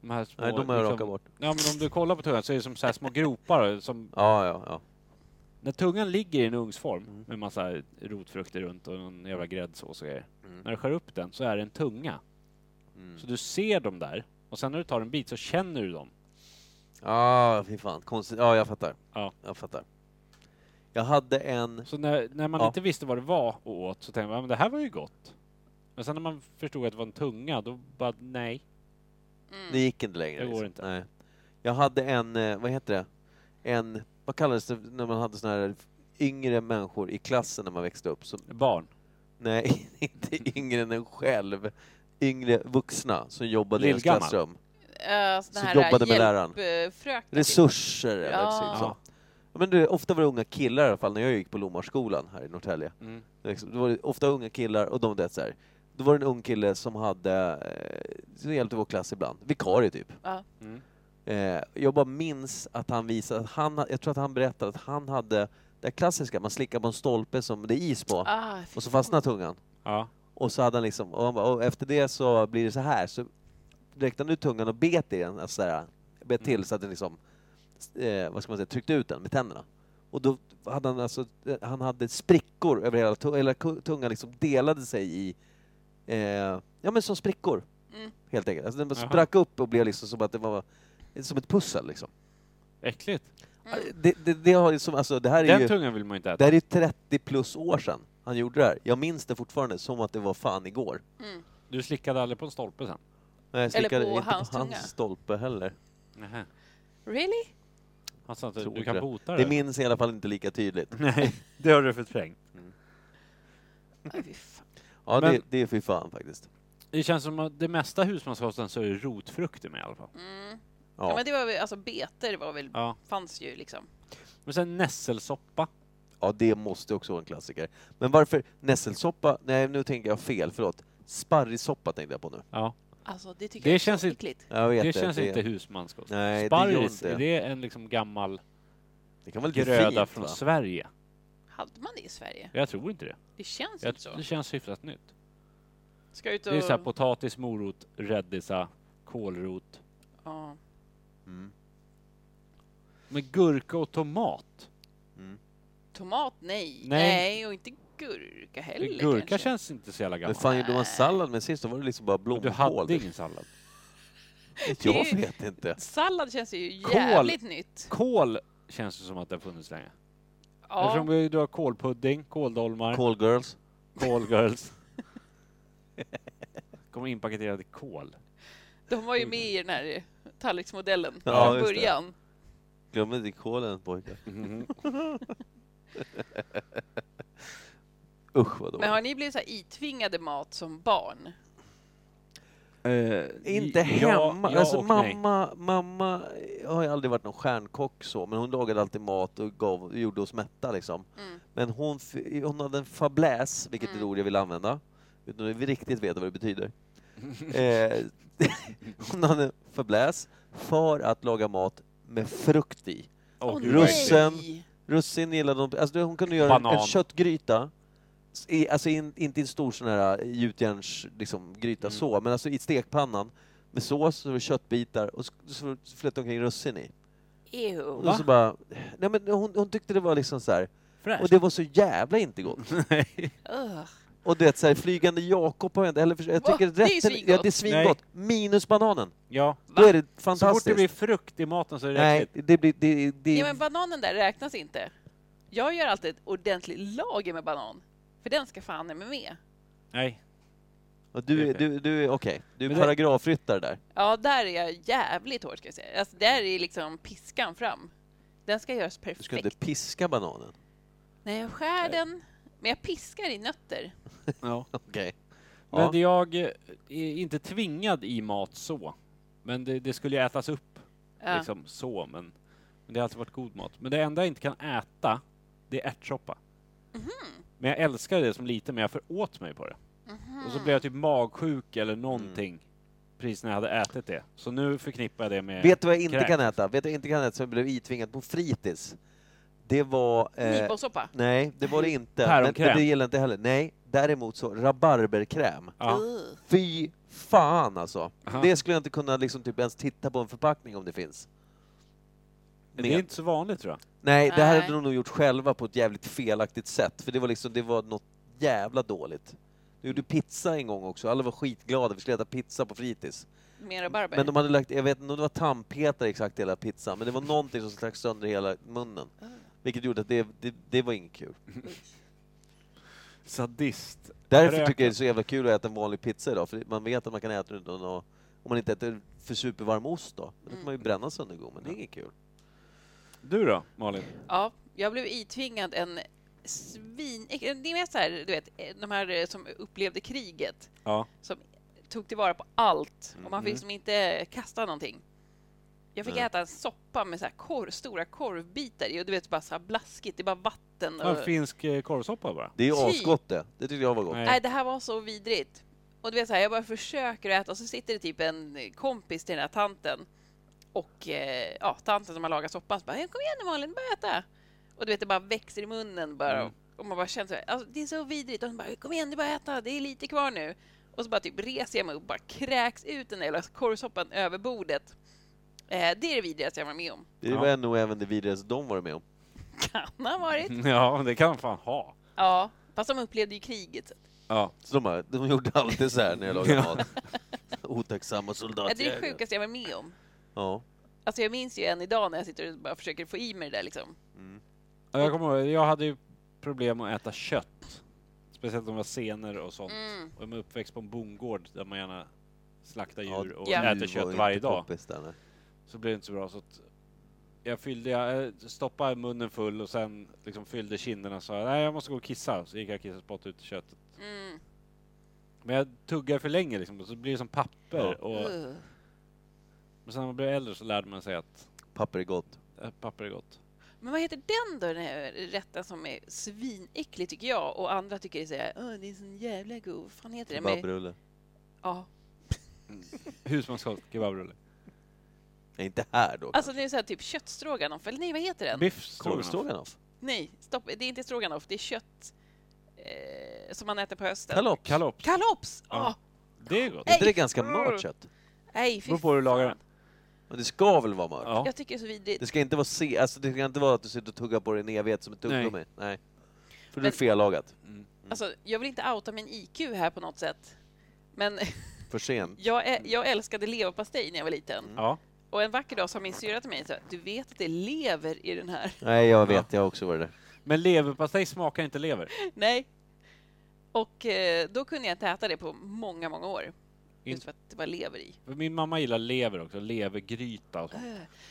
De här små, liksom- Nej, de har jag rakat bort. Ja, men om du kollar på tungan så är det som så här små gropar som Ja, ja, ja. När tungan ligger i en ugnsform Mm. med massa rotfrukter runt och någon jävla gräddsås och grejer. Mm. När du skär upp den så är det en tunga. Så du ser dem där och sen när du tar en bit så känner du dem. Ja, fy fan. Konstigt. Ja, jag fattar. Ja. Jag fattar. Jag hade en... Mm. Så när, när man Ja. inte visste vad det var och åt så tänkte man "Ja, men det här var ju gott. Men sen när man förstod att det var en tunga då bara nej. Mm. Det gick inte längre. liksom. Det går inte. Nej. Jag hade en, eh, vad heter det, en, vad kallades det när man hade såna här yngre människor i klassen när man växte upp? Som, Barn. nej, inte yngre än en själv. Yngre vuxna som jobbade i ens Lillgammal. klassrum. Uh, Så jobbade med läraren. Resurs. Resurser eller Ja. precis så. Ja, Men du, ofta var det unga killar i alla fall när jag gick på Lomarskolan här i Norrtälje. Mm. Liksom, Det var ofta unga killar och de det så här. Då var det en ung kille som hade, eh, som hjälpte vår klass ibland, vikarie typ. Ja. Mm. Eh, jag bara minns att han visade, att han, jag tror att han berättade att han hade det klassiska, man slickar på en stolpe som det är is på Ah, fy och så fastnar tungan. Ja. Och så hade han liksom, och, han bara, och efter det så blir det så här, så räckte han ut tungan och bet i den, alltså så här, bet Mm. till så att den liksom, eh, vad ska man säga, tryckte ut den med tänderna. Och då hade han alltså, eh, han hade sprickor över hela, tu- hela ku- tungan liksom delade sig i, eh, ja men som sprickor. Mm. Helt enkelt. Alltså den bara Jaha. sprack upp och blev liksom som att det var, som ett pussel liksom. Äckligt. Det, det, det, har liksom, alltså, det här är Mm. Den ju tungan vill man inte det äta. här är ju 30 plus år sedan han gjorde det här. Jag minns det fortfarande som att det var fan igår. Du slickade aldrig på en stolpe sen? Nej, jag slickade på inte hans på hans tunga. stolpe heller. Nähä. Really? Han sa att Tror Alltså, du inte kan det. bota det? Mm. Det minns jag i alla fall inte lika tydligt. Nej, det har du förträngt. Aj, Ah, fy fan. Ja, Men- det, det är fy fan faktiskt. Det känns som att det mesta husmanskosten så är det rotfrukter med i alla fall. Mm. Ja. Ja. men det var väl, alltså beter var väl, Ja. fanns ju liksom. Men sen nässelsoppa. ja, det måste också vara en klassiker. Men varför nässelsoppa? Nej, nu tänker jag fel, förlåt. Sparrissoppa tänkte jag på nu. Ja. Alltså det tycker Det jag är känns så inte- äckligt. Jag vet Det känns det, inte husmanskost. Nej, det gör Sparris, inte. är det en liksom gammal det kan vara lite gröda fint, från va? Sverige? Hade man det i Sverige? Jag tror inte det. Det känns Jag, inte så. det känns hyfsat nytt. Ska ut och... Det är så här potatis, morot, rädisa, kålrot. ja. Men gurka och tomat? Tomat, nej. Nej. nej. och inte gurka heller gurka kanske. känns inte så jävla Men gammal. fan gjorde man sallad med sist? Då var det liksom bara Men du blomkål. hade ingen sallad. Jag vet inte. Sallad känns ju Kål. jävligt nytt. Kål känns det som att det har funnits länge. Ja. Eftersom vi- du har kålpudding, kåldolmar. Call girls. Call Girls. Kommer inpaketerad i kol. De var ju med i den här eh, tallriksmodellen Ja, i just det. början. Glöm inte kolen pojkar. Usch vad Men dåligt. har ni blivit så här itvingade mat som barn? Inte Eh, ja, hemma. Ja, alltså, och nej. mamma, mamma har ju aldrig varit någon stjärnkock så, men hon lagade alltid mat och gav, gjorde oss mätta liksom. Mm. Men hon, f- hon hade en fabläs, vilket är ett ord jag vill använda, utan att vi riktigt vet vad det betyder. eh, hon hade en fabläs för att laga mat med frukt i. Åh, Åh, gud, nej. vad äckligt. russen. Russin gillade hon. Alltså, du- hon kunde göra en, en Banan. köttgryta. S- I, alltså in, inte i en stor sån här äh, gjutjärns, liksom, gryta Mm. så, men alltså i stekpannan med sås och köttbitar och så, så flöt det omkring russin i. Ew. Och så bara, nej men hon, hon tyckte det var liksom så här. och Fräscht. det var så jävla inte gott. Ugh. Och du vet, så här, flygande Jakob har jag inte heller försökt. Jag Va? tycker Det är ju rätten, ja, det är svingott. Minus bananen. Ja. Då är det Så fort fantastiskt. det blir frukt i maten så är det nej, äckligt. det blir, det, det, Ja, men bananen där räknas inte. Jag gör alltid ett ordentligt lager med banan, för den ska fan med med. Nej. och du, är- du, du är okej. Du Men är det- paragrafryttare där. Ja, där är jag jävligt hård ska jag säga. Alltså, där är liksom piskan fram. Den ska göras Du perfekt. ska inte piska bananen. Nej, jag skär den, men jag piskar i nötter. Ja. Okej. Ja. Men jag eh, är inte tvingad i mat så. Men det, det skulle ju ätas upp Ja. liksom så. Men, men det har alltid varit god mat. Men det enda jag inte kan äta, det är ärtsoppa. Mhm. Men jag älskade det som liten, men jag föråt mig på det. Mhm. Och så blev jag typ magsjuk eller någonting precis när jag hade ätit det. Så nu förknippar jag det med... Vet du vad jag inte Kräks. kan äta? Vet du vad jag inte kan äta som jag blev itvingat på fritids? Det var... Eh, Nyponsoppa. nej, det var det inte. Men, Päronkräm. men det gillar jag inte heller. Nej, däremot så rabarberkräm. Ja. Ugh. Fy fan alltså! Aha. Det skulle jag inte kunna liksom typ ens titta på en förpackning om det finns. Det är inte så vanligt tror jag. Nej, det här Nej. hade de nog gjort själva på ett jävligt felaktigt sätt, för det var liksom, det var något jävla dåligt. De gjorde pizza en gång också, alla var skitglada, vi skulle äta pizza på fritids. Med rabarber. Men de hade lagt, jag vet inte om det var tandpetare exakt i hela pizzan, men det var någonting som stack sönder hela munnen. Ah. Vilket gjorde att det, det, det var inget kul. Sadist. Därför Röken. tycker jag det är så jävla kul att äta en vanlig pizza idag, för man vet att man kan äta den utan att... Om man inte äter för supervarm ost då, då kan man ju Mm. bränna sönder gommen, det är inget kul. Du då, Malin? Ja, jag blev itvingad en svin... eh, Ni vet så här, du vet, de här eh, som upplevde kriget, Ja. som tog tillvara på allt och Mm. man fick liksom inte kasta någonting. Jag fick äta en soppa med så här korv, stora korvbitar i och du vet bara så här blaskigt, det är bara vatten. Ja, Och... en finsk eh, korvsoppa bara. Det är ju Typ. asgott det, det tyckte jag var gott. Nej. Nej, det här var så vidrigt. Och du vet så här, jag bara försöker att äta och så sitter det typ en kompis till den här tanten och eh, ja, tanten som har lagat soppan så bara "Eh, “Kom igen nu Malin, börja äta!” Och du vet, det bara växer i munnen bara Mm. och man bara känner så här, alltså, det är så vidrigt och hon bara “Kom igen, du bara äta, det är lite kvar nu” och så bara typ reser jag mig upp och bara kräks ut den där jävla korvsoppan över bordet. Eh, det är det vidrigaste jag var med om. Det var nog även det vidrigaste de varit med om. Kan ha varit. Ja, det kan man fan ha. Ja, fast de upplevde ju kriget. Ja. Så de, bara, de gjorde alltid så här när jag lagade mat. Otacksamma Ja, det är det soldatjägare. sjukaste jag var med om. Ja. Alltså jag minns ju än idag när jag sitter och bara försöker få i mig det där liksom. Ja, Jag kommer ihåg, jag hade ju problem att äta kött. Speciellt om det var senor och sånt. Mm. Och jag är uppväxt på en bondgård där man gärna slaktar Ja, djur och du Ja. var äter kött inte varje dag. poppis där, nej. Så blev det inte så bra. Så att jag fyllde, jag eh, stoppade munnen full och sen liksom fyllde kinderna och sa nej jag måste gå och kissa. Så gick jag och kissade och spottade ut köttet. Mm. Men jag tuggar för länge liksom och så blir det som papper. Ja. Och, Ugh. men sen när man blev äldre så lärde man sig att Papper är gott. äh, papper är gott. Men vad heter den då, den här rätten som är svinäcklig tycker jag och andra tycker det är så här, Åh, det är sån jävla god, vad fan heter det? Med... Kebabrulle. Ja. Husmanskost, kebabrulle. Nej, inte här då. Alltså det är så här typ köttstroganoff, eller nej vad heter den? Biff stroganoff. Korvstroganoff? Nej, stopp, det är inte stroganoff, det är kött eh, som man äter på hösten. Kalops? Är Kalops. Kalops! Ja. Ja. Det är gott. Ä- inte det ganska Mm. mört kött? Nej, fy Beror på hur du lagar den. Men det ska väl vara mört? Ja. Jag tycker det är så vidrigt. Det ska inte vara se, alltså det ska inte vara att du sitter och tuggar på det i en evighet som ett tuggummi. Nej. För du är Men- fellagat. Alltså, jag vill inte outa min IQ här på något sätt. Men För sent. jag, ä- jag älskade leverpastej när jag var liten. Ja. Och en vacker dag sa min syrra till mig så här, du vet att det lever i den här? Nej, jag vet. Jag har också varit där. Men leverpastej smakar inte lever. Nej. Och eh, då kunde jag inte äta det på många, många år. In- Just för att det var lever i. För Min mamma gillar lever också, levergryta och sånt.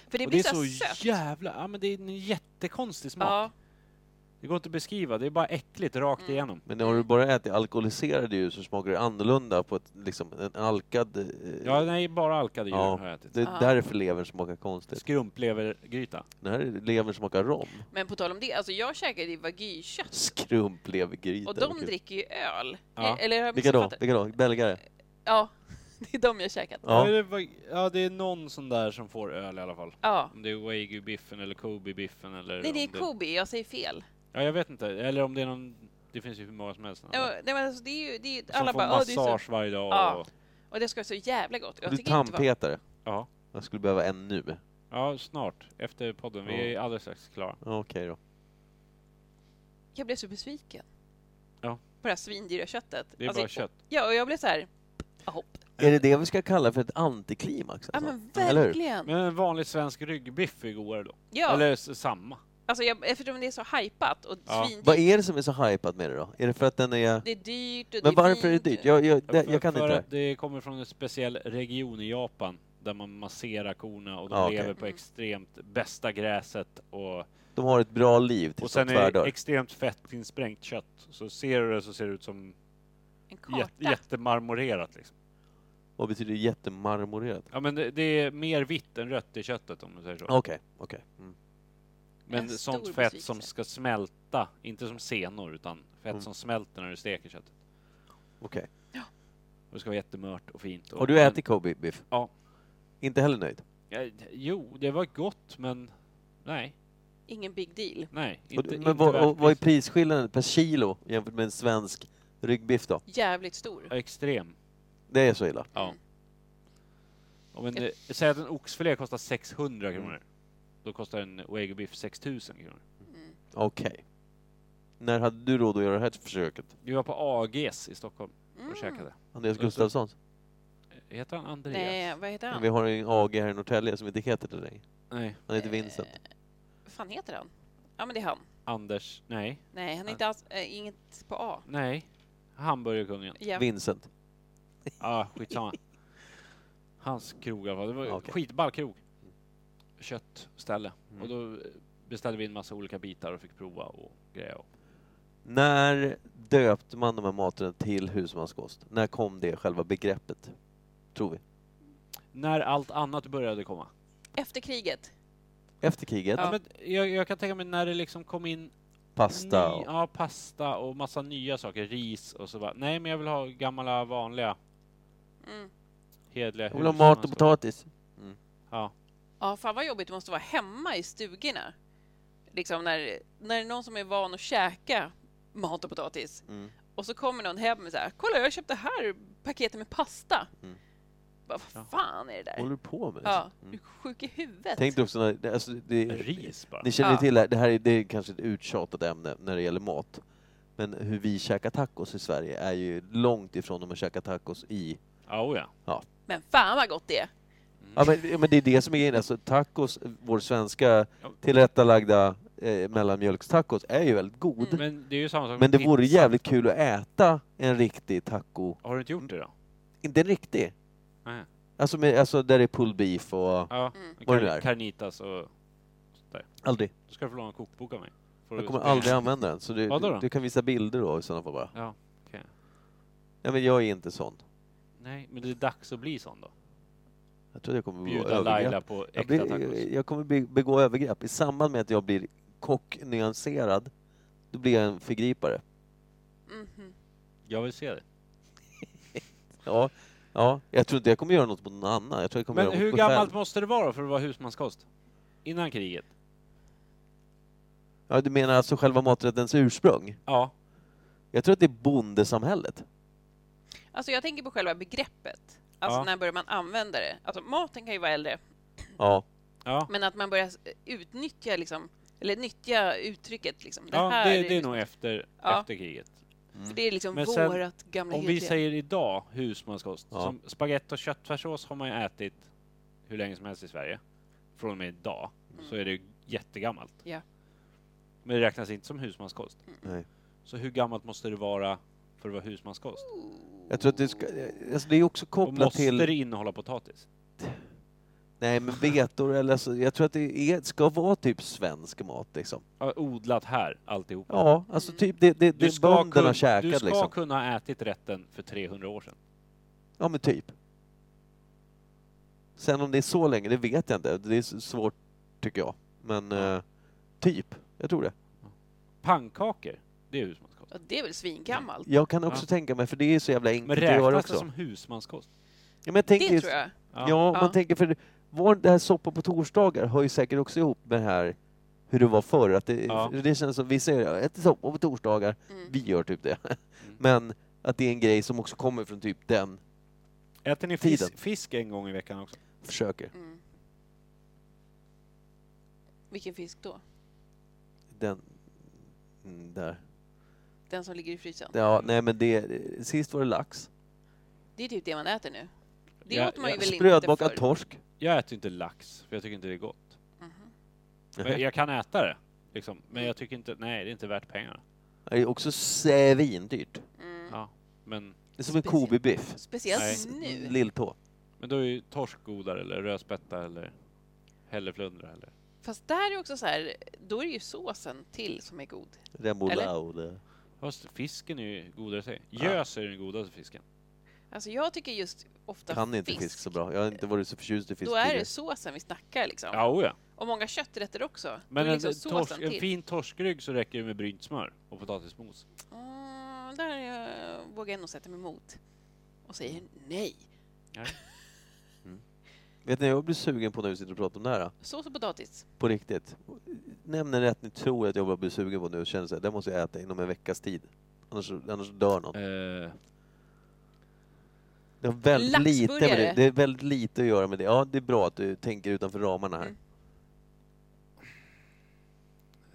För det och blir det är så, så sött. jävla... Ja men det är en jättekonstig smak. Ja, Mm. Det går inte att beskriva, det är bara äckligt rakt igenom. Men har du bara ätit alkoholiserade djur så smakar det annorlunda på ett, liksom, en alkad... eh, Ja, nej, bara alkade djur ja. har jag ätit. Det är Ja. därför levern smakar konstigt. Skrumplevergryta. Den här levern smakar rom. men på tal om det, alltså jag käkade ju vagykött Skrumplevergryta. och de Gud. dricker ju öl. Eh, Ja. Eller har jag Vilka då? missuppfattat? Vilka då? Belgare? Ja, det är de jag käkat. Ja. Ja. Ja. det var- ja, det är någon sån där som får öl i alla fall. Om det är Wagyu-biffen eller Kobe-biffen eller... Nej, det är om Kobe, jag säger fel. Ja, jag vet inte. Eller om det är någon... Det finns ju hur många som helst. Ja, nej, men alltså, det är ju, det är ju, som alla får bara, "Åh, det är så... massage varje dag. Ja. Och... Och det ska vara så jävla gott. Jag Du tycker inte vad... tandpetare? Ja. Jag skulle behöva en nu. ja, snart. Efter podden. Vi är alldeles strax klara. Ja, Okej då. Jag blev så besviken. Ja. På det här svindyra köttet. Det är Alltså, bara kött. Ja, och jag blev så här... "Ah, Hopp. Är det det vi ska kalla för ett antiklimax? Ja, alltså? men Eller hur? verkligen. Men en vanlig svensk ryggbiff är godare då. Ja, Eller s- samma. alltså, jag, eftersom det är så hypat och Ja. svindyrt. Vad är det som är så hypat med det då? Är det för att den är... Det är dyrt och Men det är varför är det fint. dyrt? Jag, jag, det, för, jag kan för inte det här. att det kommer från en speciell region i Japan där man masserar korna och de Ja, okej. lever på extremt bästa gräset och, De har ett bra liv och tills de sen är det tvärdör. extremt fettinsprängt kött. Så ser du det så ser det ut som En karta. jätte, jättemarmorerat liksom. Vad betyder jättemarmorerat? Ja men det, det är mer vitt än rött i köttet om du säger så. Okej, okej. Mm. Men En stor sånt fett besvikelse. som ska smälta, inte som senor utan fett Mm. som smälter när du steker köttet. okej. Och det ska vara jättemört och fint. Och Har du men- ätit Kobe-biff? Ja. Inte heller nöjd? Ja, d- Jo, det var gott men nej, Ingen big deal. nej. Och- Inte, men inte vad, värt och, vad är priset. prisskillnaden per kilo jämfört med en svensk ryggbiff då? Jävligt stor. Extrem. Det är så illa? Ja. Om en, eh, säg att en oxfilé kostar 600 kronor. Mm. Då kostar en Wagyu-biff 6000 kronor. Mm. Okej. När hade du råd att göra det här försöket? Vi var på AGs i Stockholm och Mm. käkade. Andreas Och så- Gustafsson? Heter han Andreas? Nej, vad heter han? Vi har en AG här i Norrtälje som inte heter det längre. Nej. Han Eh, heter Vincent. Vad Eh, fan heter han? Ja, men det är han. Anders? Nej. Nej, han är inte alls, eh, inget på A. Nej. Hamburgerkungen. Ja. Vincent. Ja, ah, skitsamma. Hans krog i alla fall. Det var Ja, okay. okej. Mm. skitball krog. Köttställe. Och då eh, beställde vi in massa olika bitar och fick prova och grejer. När döpte man de här materna till husmanskost? När kom det själva begreppet? Tror vi. När allt annat började komma. Efter kriget. Efter kriget? Ja. Men jag, jag kan tänka mig när det liksom kom in Pasta? Ny, Och... ja, pasta och massa nya saker. Ris och så bara, nej men jag vill ha gamla vanliga Mm. hederliga Jag vill ha hus- mat och så. potatis. Ja. Ja, fan vad jobbigt det måste vara hemma i stugorna. Liksom när, när det är någon som är van att käka mat och potatis Mm. och så kommer någon hem med så här, kolla jag köpte här paketet med pasta. Mm. Bara, Ja. vad fan är det Vad håller där? du på med? Ja, du är Mm. sjuk i huvudet. Tänk dig också när... det- Alltså, det, Ris bara. Ni känner ju Ja. till det här, det här är, det är kanske ett uttjatat ämne när det gäller mat. Men hur vi käkar tacos i Sverige är ju långt ifrån om man käkar tacos i... Ja, oh, ja. Men fan vad gott det är! Ja men, ja, men det är det som är grejen, alltså tacos, vår svenska Ja. tillrättalagda eh, mellanmjölkstacos är ju väldigt Mm. god. Men det är ju samma sak Men det med vore pizza. jävligt kul att äta en riktig taco. Har du inte gjort det då? Inte en riktig. Nej. Alltså, med, alltså där det är pulled beef och... Ja. Vad är det där? Carnitas och... Aldrig. Du ska du få låna en kokbok av mig. Får Jag du kommer spela. aldrig använda den. Så du, Vadå du, då? du kan visa bilder då i sådana fall bara. Ja, okej. Nej men jag är inte sån. Nej, men det är dags att bli sån då. Jag tror att jag kommer att Bjuda Laila på äkta Jag, blir, tacos. jag kommer be- begå övergrepp. I samband med att jag blir kocknyanserad, då blir jag en förgripare. Mhm. Jag vill se det. Ja, ja, jag tror inte jag kommer göra något mot någon annan. Jag tror jag kommer Men göra hur mot mig gammalt själv. måste det vara för att vara husmanskost? Innan kriget? Ja, du menar alltså själva maträttens ursprung? Ja. Jag tror att det är bondesamhället. Alltså jag tänker på själva begreppet. Alltså Ja. när börjar man använda det? Alltså maten kan ju vara äldre, Ja. Ja, men att man börjar utnyttja liksom, eller nyttja uttrycket liksom. Det ja här det, det är liksom- nog efter, Ja. efter kriget. För det är liksom Men sen, vårat gamla Om vi hederliga. säger idag husmanskost, Ja. som spagetti och köttfärssås har man ju ätit hur länge som helst i Sverige. Från och med idag så är det ju jättegammalt. Mm. Ja. Men det räknas inte som husmanskost. Nej. Så hur gammalt måste det vara för att vara husmanskost. Jag tror att det ska... Alltså det är också Och kopplat måste till... det innehålla potatis? Nej, men betor eller så. Jag tror att det är, ska vara typ svensk mat liksom. Ja, odlat här, alltihopa. Ja, alltså typ det, det, Du det ska, bönderna kun, käkade du ska liksom. kunna ha ätit rätten för 300 år sedan. Ja, men typ. Sen om det är så länge, det vet jag inte. Det är s- svårt, tycker jag. Men eh, typ, jag tror det. Pannkakor, det är husmanskost. Ja, det är väl svingammalt? Jag kan också Ja. tänka mig, för Mm, det är så jävla Men enkelt att göra räknas också. det som husmanskost? Ja, men jag Det tänker, tror jag. Ja, Ja. man tänker för var det här soppa på torsdagar hör ju säkert också ihop med det här hur det var förr. Att det, Ja. det känns som, vi säger att äter soppa på torsdagar, Mm. vi gör typ det. Men att det är en grej som också kommer från typ den Äter ni fis, Tiden. fisk en gång i veckan också? försöker, Mm. Vilken fisk då? den mm, där. Den som ligger i frysen? Ja, nej men det, sist var det lax. Mm. Det är typ det man äter nu. Det Ja, åt man ja. ju väl inte Sprödbakad förr? torsk. Jag äter inte lax, för jag tycker inte det är gott. Men jag kan äta det, liksom. men jag tycker inte, nej det är inte värt pengarna. Det är också svindyrt. Ja. Men, Det är som en Speciellt. kobibiff. Nej. Mhm. Speciellt nu. Lilltå. men då är ju torsk godare, eller rödspätta, eller hälleflundra, eller... Fast där är också så här, då är det ju såsen till som är god. Remoulade. Fast fisken är ju godare i sig. Gös är ju den godaste fisken. Alltså jag tycker just ofta Kan inte fisk så bra. Jag har inte varit så förtjust i fisk Då är tidigare. det såsen vi snackar liksom. Ja, oja. Och många kötträtter också. Men då en, är liksom såsen torsk, en till. fin torskrygg så räcker det med brynt smör och potatismos. Mm, där eh, vågar jag nog sätta mig emot. Och säger nej. Vet ni, jag blir sugen på när vi sitter och pratar om det här. Sås och potatis. På riktigt. Nämn en rätt ni tror att jag bara blir sugen på nu och känner så här, det måste jag äta inom en veckas tid. Annars, annars dör någon. Eh, Det har väldigt lite med det. Laxburgare. det är väldigt lite att göra med det. Ja, det är bra att du tänker utanför ramarna här. Mm.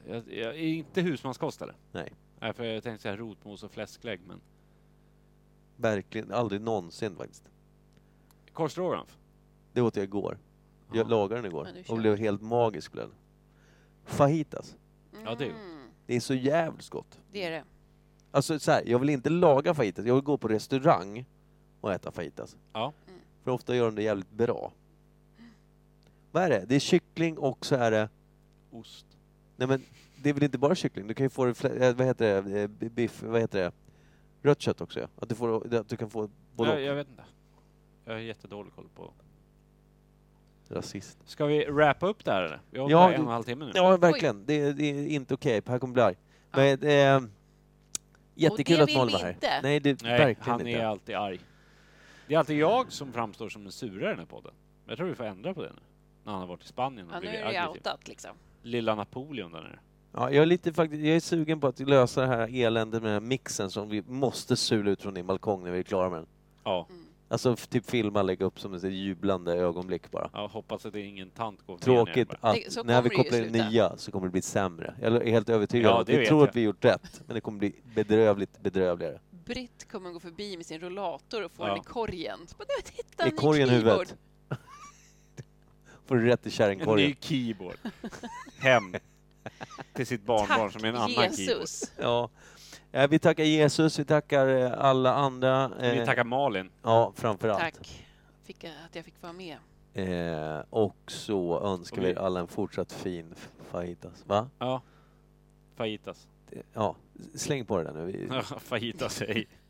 jag, jag, är inte husmanskost eller? Nej. Nej, för jag tänkte säga rotmos och fläsklägg, men Verkligen, aldrig någonsin faktiskt. korvstroganoff. Det åt jag igår. Jag Ja. lagade den igår Ja, du kör. och blev helt magisk blev den. Fajitas. Ja, det är Mm. Mm, Det är så jävligt gott. det är det. Alltså så här, jag vill inte laga fajitas, jag vill gå på restaurang och äta fajitas. Ja. Mm. För ofta gör de det jävligt bra. Vad är det? Det är kyckling och så är det... Ost. Nej men, det är väl inte bara kyckling? Du kan ju få det, fle- eh, vad heter det, eh, b- biff, vad heter det? Rött kött också ja. Att du, får, att du kan få både Jag, och. jag vet inte. Jag har jättedålig koll på... Rasist. Ska vi wrapa upp det här eller? Vi har hållit Ja, på en du- och en halv timme nu. Ja, verkligen. Det, det är inte okej. Här kommer bli arg. Men, eh, jättekul det att vill Malin vi var här. inte. Nej, det Nej, verkligen han inte. är alltid arg. Det är alltid jag som framstår som den sura i den här podden. Men jag tror vi får ändra på det nu. När han har varit i Spanien och Ja, nu blivit är det aggressiv. outat liksom. Lilla Napoleon där nere. Ja, jag, är lite, faktiskt, jag är sugen på att lösa det här eländet med den här mixen som vi måste sula ut från din balkong när vi är klara med den. Ja, Mm. Alltså f- typ filma, lägga upp som ett jublande ögonblick bara. jag hoppas att det är ingen tant går förbi Tråkigt henne bara. att Det- så när vi kommer det ju kopplar in sluta. nya så kommer det bli sämre. Jag är helt övertygad Ja, om att det vi vet tror jag. att vi gjort rätt, men det kommer bli bedrövligt bedrövligare. Britt kommer gå förbi med sin rullator och få Ja. den i korgen. Så bara, "Nej, titta, Är ny korgen keyboard." huvudet? Får du rätt i En ny kärringkorgen. keyboard. Hem. Till sitt barnbarn som är en annan keyboard. Jesus. Ja. Eh, Vi tackar Jesus, vi tackar eh, alla andra. Vi eh, tackar Malin. Ja, framför allt. Tack fick jag, att jag fick vara med. Eh, och så önskar Och vi- vi er alla en fortsatt fin f- fajitas. Va? Ja. Fajitas. Ja, släng på det där nu. Vi- Fajitas, hej.